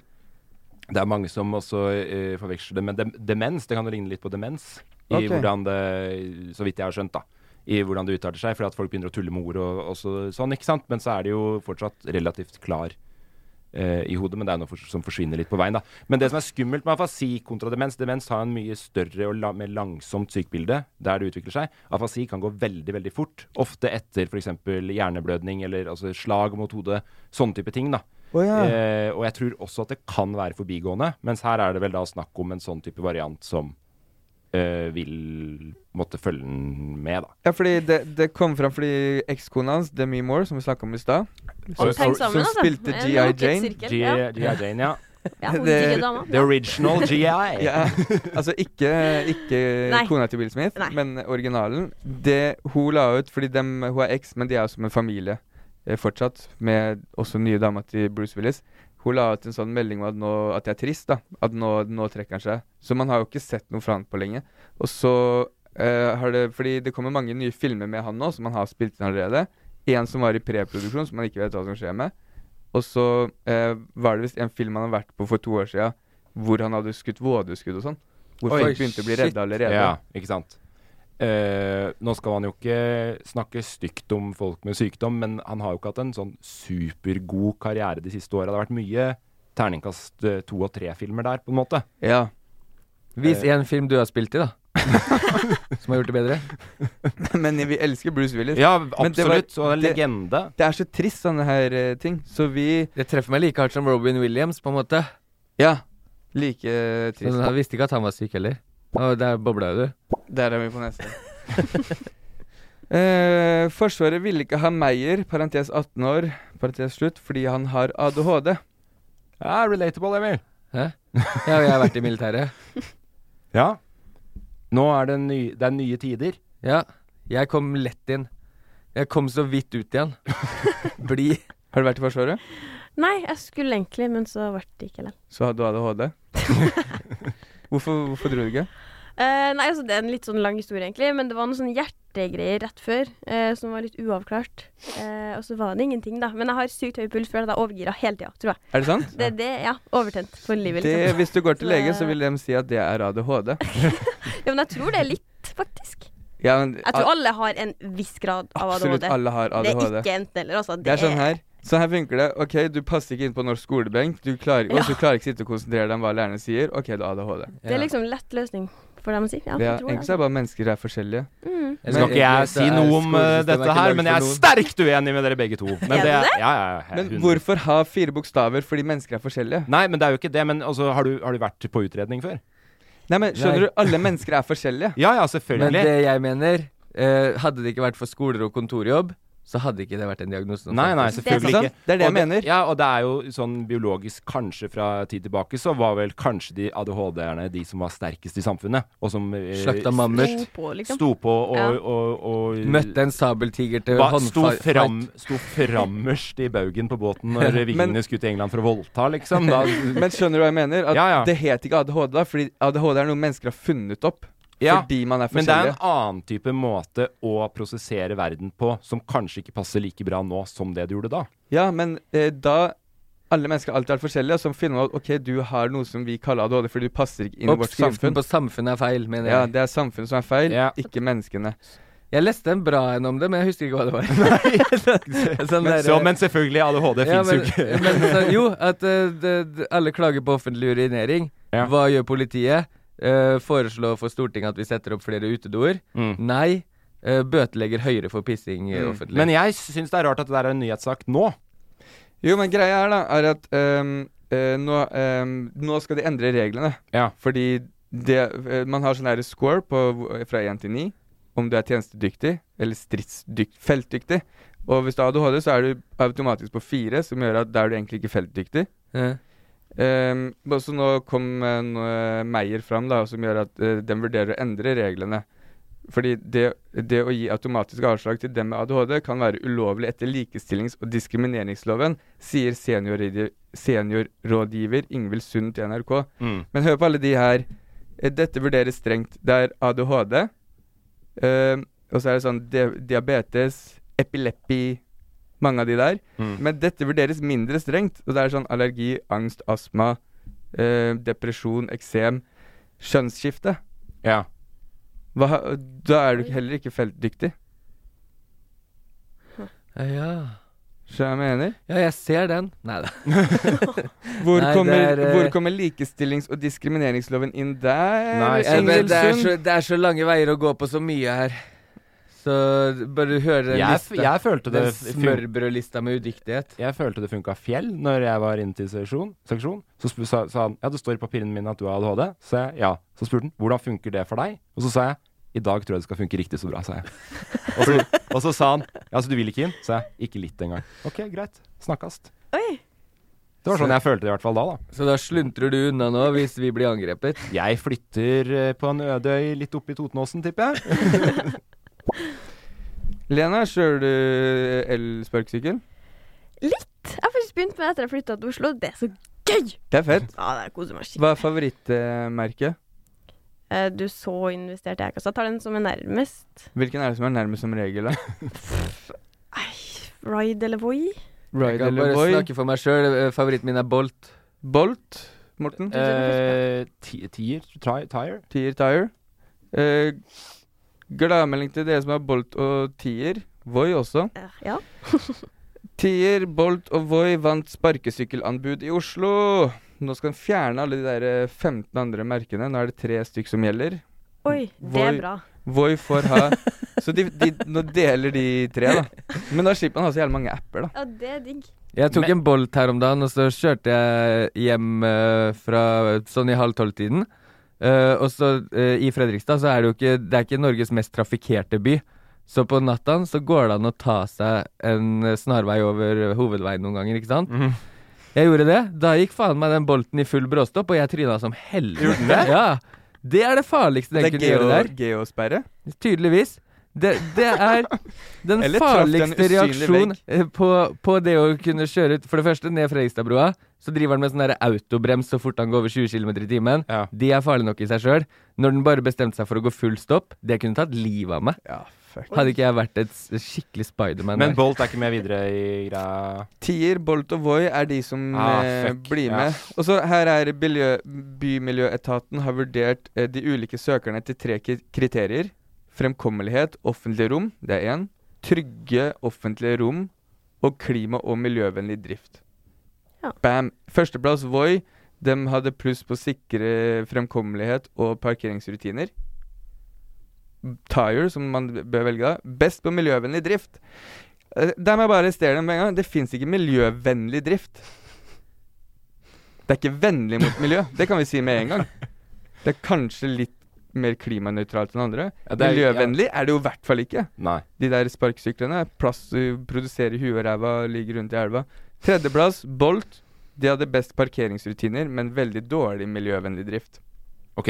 Det er mange som også eh, forveksler det med dem demens. Det kan jo ligne litt på demens, i Ok. hvordan det, så vidt jeg har skjønt, da. I hvordan det uttaler seg, fordi at folk begynner å tulle med ord og, og så, sånn, ikke sant. Men så er det jo fortsatt relativt klar eh, i hodet, men det er noe for, som forsvinner litt på veien, da. Men det som er skummelt med afasi kontra demens, demens har en mye større og la, mer langsomt sykebilde der det utvikler seg. Afasi kan gå veldig, veldig fort. Ofte etter f.eks. hjerneblødning eller altså slag mot hodet. Sånne type ting, da. Å ja. Eh, og jeg tror også at det kan være forbigående, mens her er det vel da snakk om en sånn type variant som eh, vil måtte følge den med, da. Ja, fordi det, det kom fram fordi ekskona hans, Demi Moore, som vi snakka om i stad Og tenk som sammen, altså. spilte En G.I. lukket Jane. sirkel. G- Ja. G.I. Jane, ja. Ja, hun Det- digge dama. The original GI. Ja, altså ikke, ikke Nei. kona til Will Smith, Nei. men originalen. Det hun la ut fordi dem, hun er eks, men de er jo som en familie eh, fortsatt, med også nye dama til Bruce Willis. Hun la ut en sånn melding om at, nå, at jeg er trist, da. At nå, nå trekker han seg. Så man har jo ikke sett noe fra han på lenge. Og så eh, har det Fordi det kommer mange nye filmer med han nå, som han har spilt inn allerede. En som var i preproduksjon, som man ikke vet hva som skjer med. Og så eh, var det visst en film han har vært på for to år siden, hvor han hadde skutt vådeskudd og sånn. Hvor Oi, folk begynte å bli shit. redde allerede. Ja, ikke sant. Eh, nå skal han jo ikke snakke stygt om folk med sykdom, men han har jo ikke hatt en sånn supergod karriere de siste åra. Det har vært mye terningkast eh, to og tre-filmer der, på en måte. Ja. Vis eh. én film du har spilt i, da. Som har gjort det bedre. Men vi elsker Bruce Willis. Ja, Men det var- absolutt. Og en det- legende. Det er så trist, sånne her eh, ting. Så vi Det treffer meg like hardt som Robin Williams, på en måte. Ja. Like Så trist. han visste ikke at han var syk heller. Og der bobla jo du. Der er vi på neste. Eh, forsvaret ville ikke ha Meyer, parentes 18 år, parentes slutt, fordi han har ADHD. Ja, relatable, Emil. Hæ? Ja, og jeg har vært i militæret. Ja. Nå er det, ny, det er nye tider. Ja. Jeg kom lett inn. Jeg kom så vidt ut igjen. Bli. Har du vært i Forsvaret? Nei, jeg skulle egentlig, men så ble det ikke likevel. Så hadde du ADHD. hvorfor, hvorfor dro du ikke? Eh, Eh, nei, altså Det er en litt sånn lang historie, egentlig. Men det var noen sånne hjertegreier rett før eh, som var litt uavklart. Eh, og så var det ingenting, da. Men jeg har sykt høy puls, for jeg er da overgira hele tida, tror jeg. Er det sant? Det, det, ja, overtent for livet. Det, Liksom. hvis du går til Så det- lege, så vil de si at det er ADHD. Ja, men jeg tror det er litt, faktisk. Ja, men, Jeg tror alle har en viss grad av Absolutt ADHD. alle har Det er ADHD. ikke enten-eller, altså. Det er sånn her. Så her funker det. OK, du passer ikke inn på norsk skolebenk. Du klarer, Ja. og så klarer ikke sitte og konsentrere deg om hva lærerne sier. OK, du har ADHD. Det er liksom lett løsning for dem å si. Ja, det jeg er, tror egentlig så er bare mennesker er forskjellige. Mm. Jeg skal ikke jeg si noe om eh, dette her, men jeg er sterkt uenig med dere begge to. Men, det, Er du det? Ja, ja, ja, Men 100. hvorfor ha fire bokstaver fordi mennesker er forskjellige? Nei, men det er jo ikke det. Men altså, har, du, har du vært på utredning før? Nei, men skjønner Nei. du, alle mennesker er forskjellige. Ja, ja, selvfølgelig. Men det jeg mener, eh, hadde det ikke vært for skoler og kontorjobb, så hadde ikke det vært en diagnose. som Nei, nei, fantes. selvfølgelig ikke. Det er det jeg Og Ja, og det er jo sånn biologisk kanskje fra tid tilbake, så var vel kanskje de ADHD-erne de som var sterkest i samfunnet, og som eh, Slakta mammut. Sto på, liksom. Sto på og, Ja. og, og, Møtte en sabeltiger til Ba- sto, håndfight. fram, sto frammerst i baugen på båten når eh, Men- vikingene skulle til England for å voldta, liksom. Da, Men skjønner du hva jeg mener? At Ja, ja. Det het ikke ADHD da, fordi ADHD er noe mennesker har funnet opp. Ja, Fordi man er men det er forskjellige. en annen type måte å prosessere verden på som kanskje ikke passer like bra nå som det det gjorde da. Ja, men eh, da alle mennesker alltid er forskjellige, og så finner man ut OK, du har noe som vi kaller ADHD fordi du passer ikke inn i vårt Oppskriften samfunn. på samfunnet er feil, mener jeg. Ja, det er samfunnet som er feil, ikke menneskene. Jeg leste en bra en om det, men jeg husker ikke hva det var. Sånn Men, der- så, men selvfølgelig, ADHD Ja, finnes jo ikke. men, men så, jo, at eh, det, det, alle klager på offentlig urinering. Hva gjør politiet? Uh, foreslår for Stortinget at vi setter opp flere utedoer. Mm. Nei. eh, bøtelegger høyere for pissing eh, Mm. offentlig. Men jeg syns det er rart at det der er en nyhetssak nå. Jo, men greia er da er at ehm, eh, nå, ehm, nå skal de endre reglene. Fordi det, eh, man har sånn her score på, hvor- fra 1 til 9 om du er tjenestedyktig eller stridsdykt, feltdyktig. Og hvis du har ADHD, så er du automatisk på 4, som gjør at da er du egentlig ikke feltdyktig. Ja. Ehm, og så nå kom eh, nå, eh, Meyer fram, da, som gjør at eh, den vurderer å endre reglene. Fordi det, det å gi automatisk avslag til dem med ADHD kan være ulovlig etter likestillings- og diskrimineringsloven, sier seniorrådgiver, seniorrådgiver Ingvild Sund til NRK. Mm. Men hør på alle de her. Eh, Dette vurderes strengt. Det er ADHD, eh, og så er det sånn di diabetes, epilepi, mange av de der. Mm. Men dette vurderes mindre strengt, og det er sånn allergi, angst, astma, eh, depresjon, eksem, kjønnsskifte. Ja. Hva, da er du ikke- heller ikke feltdyktig. Ja. Skjønner du hva jeg mener? ja, jeg ser den. Nei da. Hvor, Nei, det kommer, er, eh, hvor kommer likestillings- og diskrimineringsloven inn der? Nei, Ingvild men det, er Sund? så, det er så lange veier å gå på så mye her. Så bare hør den Jeg f- lista. jeg følte den det f- smørbrødlista med udyktighet. Jeg følte det funka fjell når jeg var inne til seksjon. seksjon. Så sp- sa, sa han ja, det står i papirene mine at du har ADHD. Så jeg ja. Så spurte han hvordan funker det for deg? Og så sa jeg i dag tror jeg det skal funke riktig så bra, sa jeg. Og så, og så sa han ja, så du vil ikke inn? Sa jeg ikke litt engang. OK, greit. Snakkast. Det var sånn jeg følte det i hvert fall da, da. Så da sluntrer du unna nå hvis vi blir angrepet? Jeg flytter eh, på en øde øy litt oppe i Totenåsen, tipper jeg. Lena, kjører du eh, elsparkesykkel? Litt. Jeg har faktisk begynt med det etter jeg flytta til Oslo. Det er så gøy! Det er fett. Ja, det er koser meg skikkelig. Hva er favorittmerket? Eh, Du så investert i Eikas. Jeg tar den som er nærmest. Hvilken er det som er nærmest som regel? da? Ride eller Voi. Jeg Ride kan eller bare Voi? snakke for meg sjøl. Favoritten min er Bolt. Bolt? Morten? Eh, ti- Tier? tri- Tire? Tier Tire. Eh, Gladmelding til dere som har Bolt og Tier. Voi også. Ja. Tier, Bolt og Voi vant sparkesykkelanbud i Oslo. Nå skal en fjerne alle de der eh, 15 andre merkene. Nå er det tre stykk som gjelder. Oi, det er bra. Voi får ha Så de, de, nå deler de tre, da. Men da slipper man å ha så jævlig mange apper, da. Ja, det er digg. Jeg tok en Bolt her om dagen, og så kjørte jeg hjem eh, fra sånn i halv tolv-tiden. Eh, og så eh, i Fredrikstad så er det jo ikke Det er ikke Norges mest trafikkerte by. Så på natta så går det an å ta seg en eh, snarvei over eh, hovedveien noen ganger, ikke sant? Mhm. Jeg gjorde det. Da gikk faen meg den bolten i full bråstopp, og jeg tryna som helvete. Gjorde den det? Ja. Det er det farligste den Det er kunne gjøre der. geo- geosperre? Tydeligvis. Det, det er den Eller traff den farligste usynlige reaksjon vegg. eh, på, på det å kunne kjøre ut For det første ned Fredrikstadbrua, Så driver han med sånn der autobrems så fort han går over 20 km i timen. Det er farlig nok i seg sjøl. Når den bare bestemte seg for å gå full stopp, det kunne tatt livet av meg. Hadde ikke jeg vært et s- skikkelig Spiderman. Men eh, der. Bolt er ikke med videre i greia. Tier, Bolt og Voi er de som Ah, eh, fuck, blir ja. med. Og så her er miljø, Bymiljøetaten har vurdert eh, de ulike søkerne til tre ki- kriterier. Fremkommelighet, offentlige rom, det er én. Trygge offentlige rom og klima- og miljøvennlig drift. Bam! Førsteplass Voi. De hadde pluss på sikre fremkommelighet og parkeringsrutiner. Tire, som man bør velge da. Best på miljøvennlig drift. Eh, Der må jeg bare arrestere dem med en gang. Det fins ikke miljøvennlig drift. Det er ikke vennlig mot miljø. Det kan vi si med en gang. Det er kanskje litt mer klimanøytralt enn andre. Ja, det er- miljøvennlig er det jo i hvert fall ikke. Nei. De der sparkesyklene. Plast du produserer i huet og ræva ligger rundt i elva. Tredjeplass, Bolt. De hadde best parkeringsrutiner, men veldig dårlig miljøvennlig drift. Ok.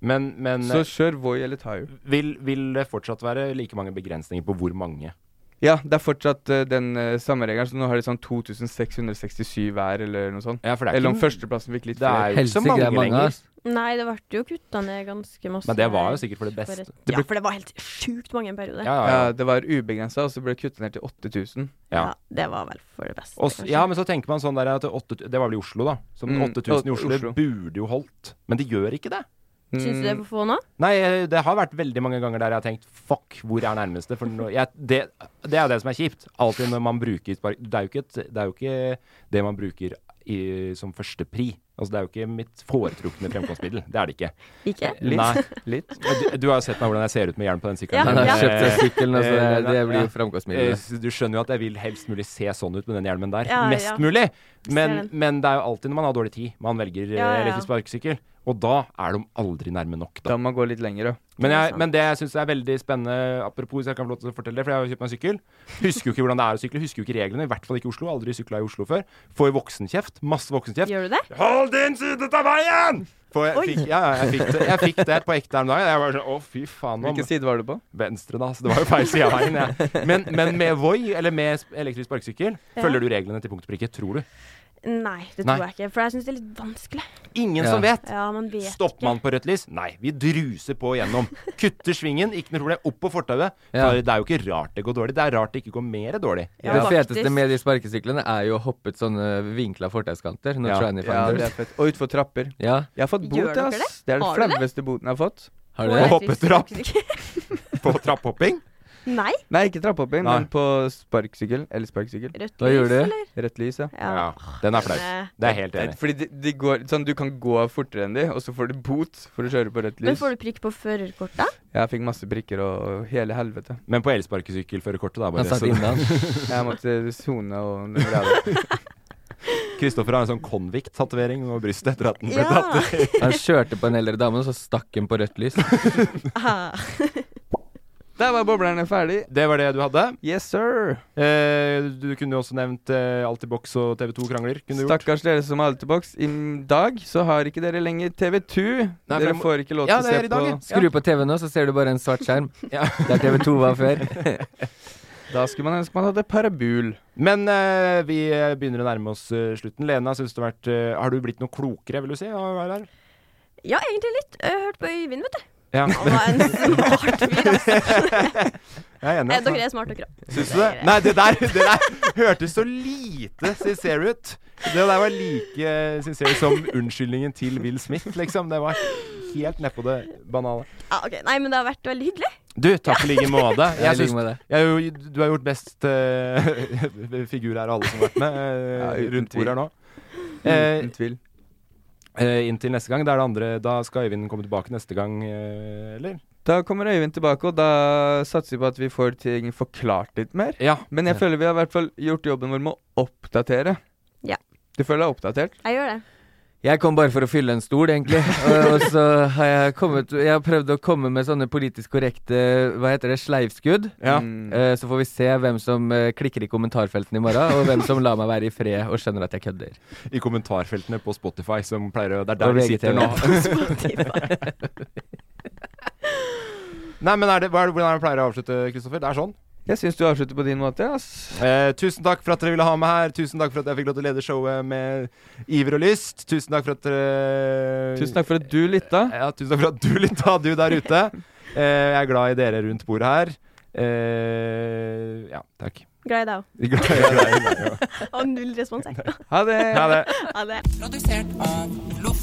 Men, men eh, Så kjør Voi eller Tire. Vil, vil det fortsatt være like mange begrensninger på hvor mange? Ja, det er fortsatt eh, den eh, samme regelen, så nå har de sånn 2667 hver, eller noe sånt. for det er eller om ikke- førsteplassen fikk litt det er jo flere. ikke så Helsike, mange det er mange, lenger. ass. Nei, det ble jo kutta ned ganske masse. Men det var jo sikkert for det For beste. et- Det Ja, ble- for det var helt sjukt mange en periode. ja, Det var ubegrensa, og så ble det kuttet ned til 8000. Ja. Ja, det var vel for det beste. Og s- ja, men så tenker man sånn der at åtte- Det var vel i Oslo, da. Som Mm, 8000 i åtte- Oslo, det Oslo. burde jo holdt. Men det gjør ikke det. Syns du det er for få nå? Nei, eh, det har vært veldig mange ganger der jeg har tenkt fuck, hvor er nærmeste? For nå, jeg, det, det er jo det som er kjipt. Alltid når man bruker spark... Det er jo ikke, et, det, er jo ikke det man bruker i, som førstepri. Altså, det er jo ikke mitt foretrukne fremkomstmiddel. Det er det ikke. Ikke? Litt. Nei. Litt. Du, du har jo sett meg hvordan jeg ser ut med hjelm på den Ja, sykkelen. Han har ja. kjøpt seg Eh, sykkel nå, så altså, det- eh, det blir jo ja. fremkomstmiddel. Eh, s- Du skjønner jo at jeg vil helst mulig se sånn ut med den hjelmen der. Ja, Mest ja. mulig. Ser Men, den. men det er jo alltid når man har dårlig tid. Man velger eh, Ja, ja, ja. elektrisk sparkesykkel. Og da er de aldri nærme nok, da. Da må man gå litt lenger, ja. Men, jeg, men det jeg syns er veldig spennende, apropos hvis jeg kan få lov til å fortelle det, for jeg har jo kjøpt meg sykkel. Husker jo ikke hvordan det er å sykle, husker jo ikke reglene, i hvert fall ikke i Oslo. Aldri sykla i Oslo før. Får voksenkjeft. Masse voksenkjeft. Gjør du det? Hold din side av veien! For jeg, Oi. fikk, ja, ja, jeg, fikk det, jeg fikk det på ekte her om dagen. Jeg var sånn, å fy faen. nå må- Hvilken side var du på? Venstre, da. Så det var jo feil side av veien. Jeg. Men, men med Voi, eller med sp- elektrisk sparkesykkel, Ja. følger du reglene til punkt og prikke, tror du. Nei, det Nei. tror jeg ikke. For jeg syns det er litt vanskelig. Ingen som vet. Ja, man vet Stopper man på rødt lys? Nei, vi druser på gjennom. Kutter svingen, ikke noe problem. Opp på fortauet. For det er jo ikke rart det går dårlig, det er rart det ikke går mer dårlig. det feteste med de sparkesyklene er jo å hoppe ut sånne vinkla fortauskanter. når Ja. Trine Ja, Finders. det er fett. Og utfor trapper. Ja. Jeg har fått Gjør bot, dere ass. det? Det er den Har du det? flaueste boten jeg har fått. Har du det? På hoppet trapp? På trapphopping? Nei. Nei, ikke trappehopping, Nei. men på sparkesykkel. Eller sparkesykkel. Rødt Hva lys, gjør du? Eh, eller? Rødt lys, ja. Ja. Den er flau. Det er jeg helt enig. i. Eh, Fordi de, de går, sånn, Du kan gå fortere enn de, og så får du bot for å kjøre på rødt Men lys. får du prikk på førerkortet? Jeg fikk masse prikker og hele helvete. Men på elsparkesykkelførerkortet, da. Han satt så- inne, Jeg måtte sone og Kristoffer har en sånn konvikt-tatovering over brystet etter at den ble Ja. tatt. Han kjørte på en eldre dame, og så stakk hun på rødt lys. Ah. Der var boblerne ferdig. Det var det du hadde? Yes, sir. Eh, du kunne jo også nevnt eh, Altibox og TV2 krangler. Kunne du gjort. Stakkars dere som har Altibox. I dag så har ikke dere lenger TV2. Nei, dere for- får ikke lov Ja, det til er å i se dag, på ja. Skru på TV nå, så ser du bare en svart skjerm. Der TV2 var før. Da skulle man ønske man hadde parabol. Men eh, vi eh, begynner å nærme oss eh, slutten. Lena, synes det har, vært, eh, har du blitt noe klokere, vil du si? av å være her? Ja, egentlig litt. Jeg hørte på Øyvind, vet du. Ja. Han var en smart fyr, altså. Jeg er enig. Eh, dere er smarte, dere. Syns du det? Nei, det der, det der hørtes så lite sincere ut. Det der var like sincere som unnskyldningen til Will Smith, liksom. Det var helt nedpå det banale. Ja, Ah, ok. Nei, men det har vært veldig hyggelig. Du, takk i like måte. Ja, i Jeg syns- like måte. jeg har jo- Du har gjort best eh, figur her av alle som har vært med eh, Ja, uten rundt tvil. bordet her nå. Eh, Uten tvil. Eh, inntil neste gang. Da, er det andre, da skal Øyvind komme tilbake neste gang, eh, eller? Da kommer Øyvind tilbake, og da satser vi på at vi får ting forklart litt mer. Men jeg føler vi har i hvert fall gjort jobben vår med å oppdatere. Ja. Du føler deg oppdatert? Jeg gjør det. Jeg kom bare for å fylle en stol, egentlig. Og, og så har jeg kommet Jeg har prøvd å komme med sånne politisk korrekte Hva heter det? Sleivskudd. Ja. Eh, så får vi se hvem som eh, klikker i kommentarfeltene i morgen, og hvem som lar meg være i fred og skjønner at jeg kødder. I kommentarfeltene på Spotify, som pleier å Det er Og der vi sitter nå. VGTV. Nei, men er det, hva er det, hvordan er det du pleier å avslutte, Kristoffer? Det er sånn? Jeg syns du avslutter på din måte. ass. Eh, tusen takk for at dere ville ha meg her. Tusen takk for at jeg fikk lov til å lede showet med iver og lyst. Tusen takk for at dere Tusen takk for at du lytta. Ja, tusen takk for at du lytta, du der ute. Eh, jeg er glad i dere rundt bordet her. Eh, ja, takk. Glad i deg òg. Glad i deg, glad i deg, ja. Og null respons, jeg. Ha det. Ha det. Ha det. Produsert av Loff.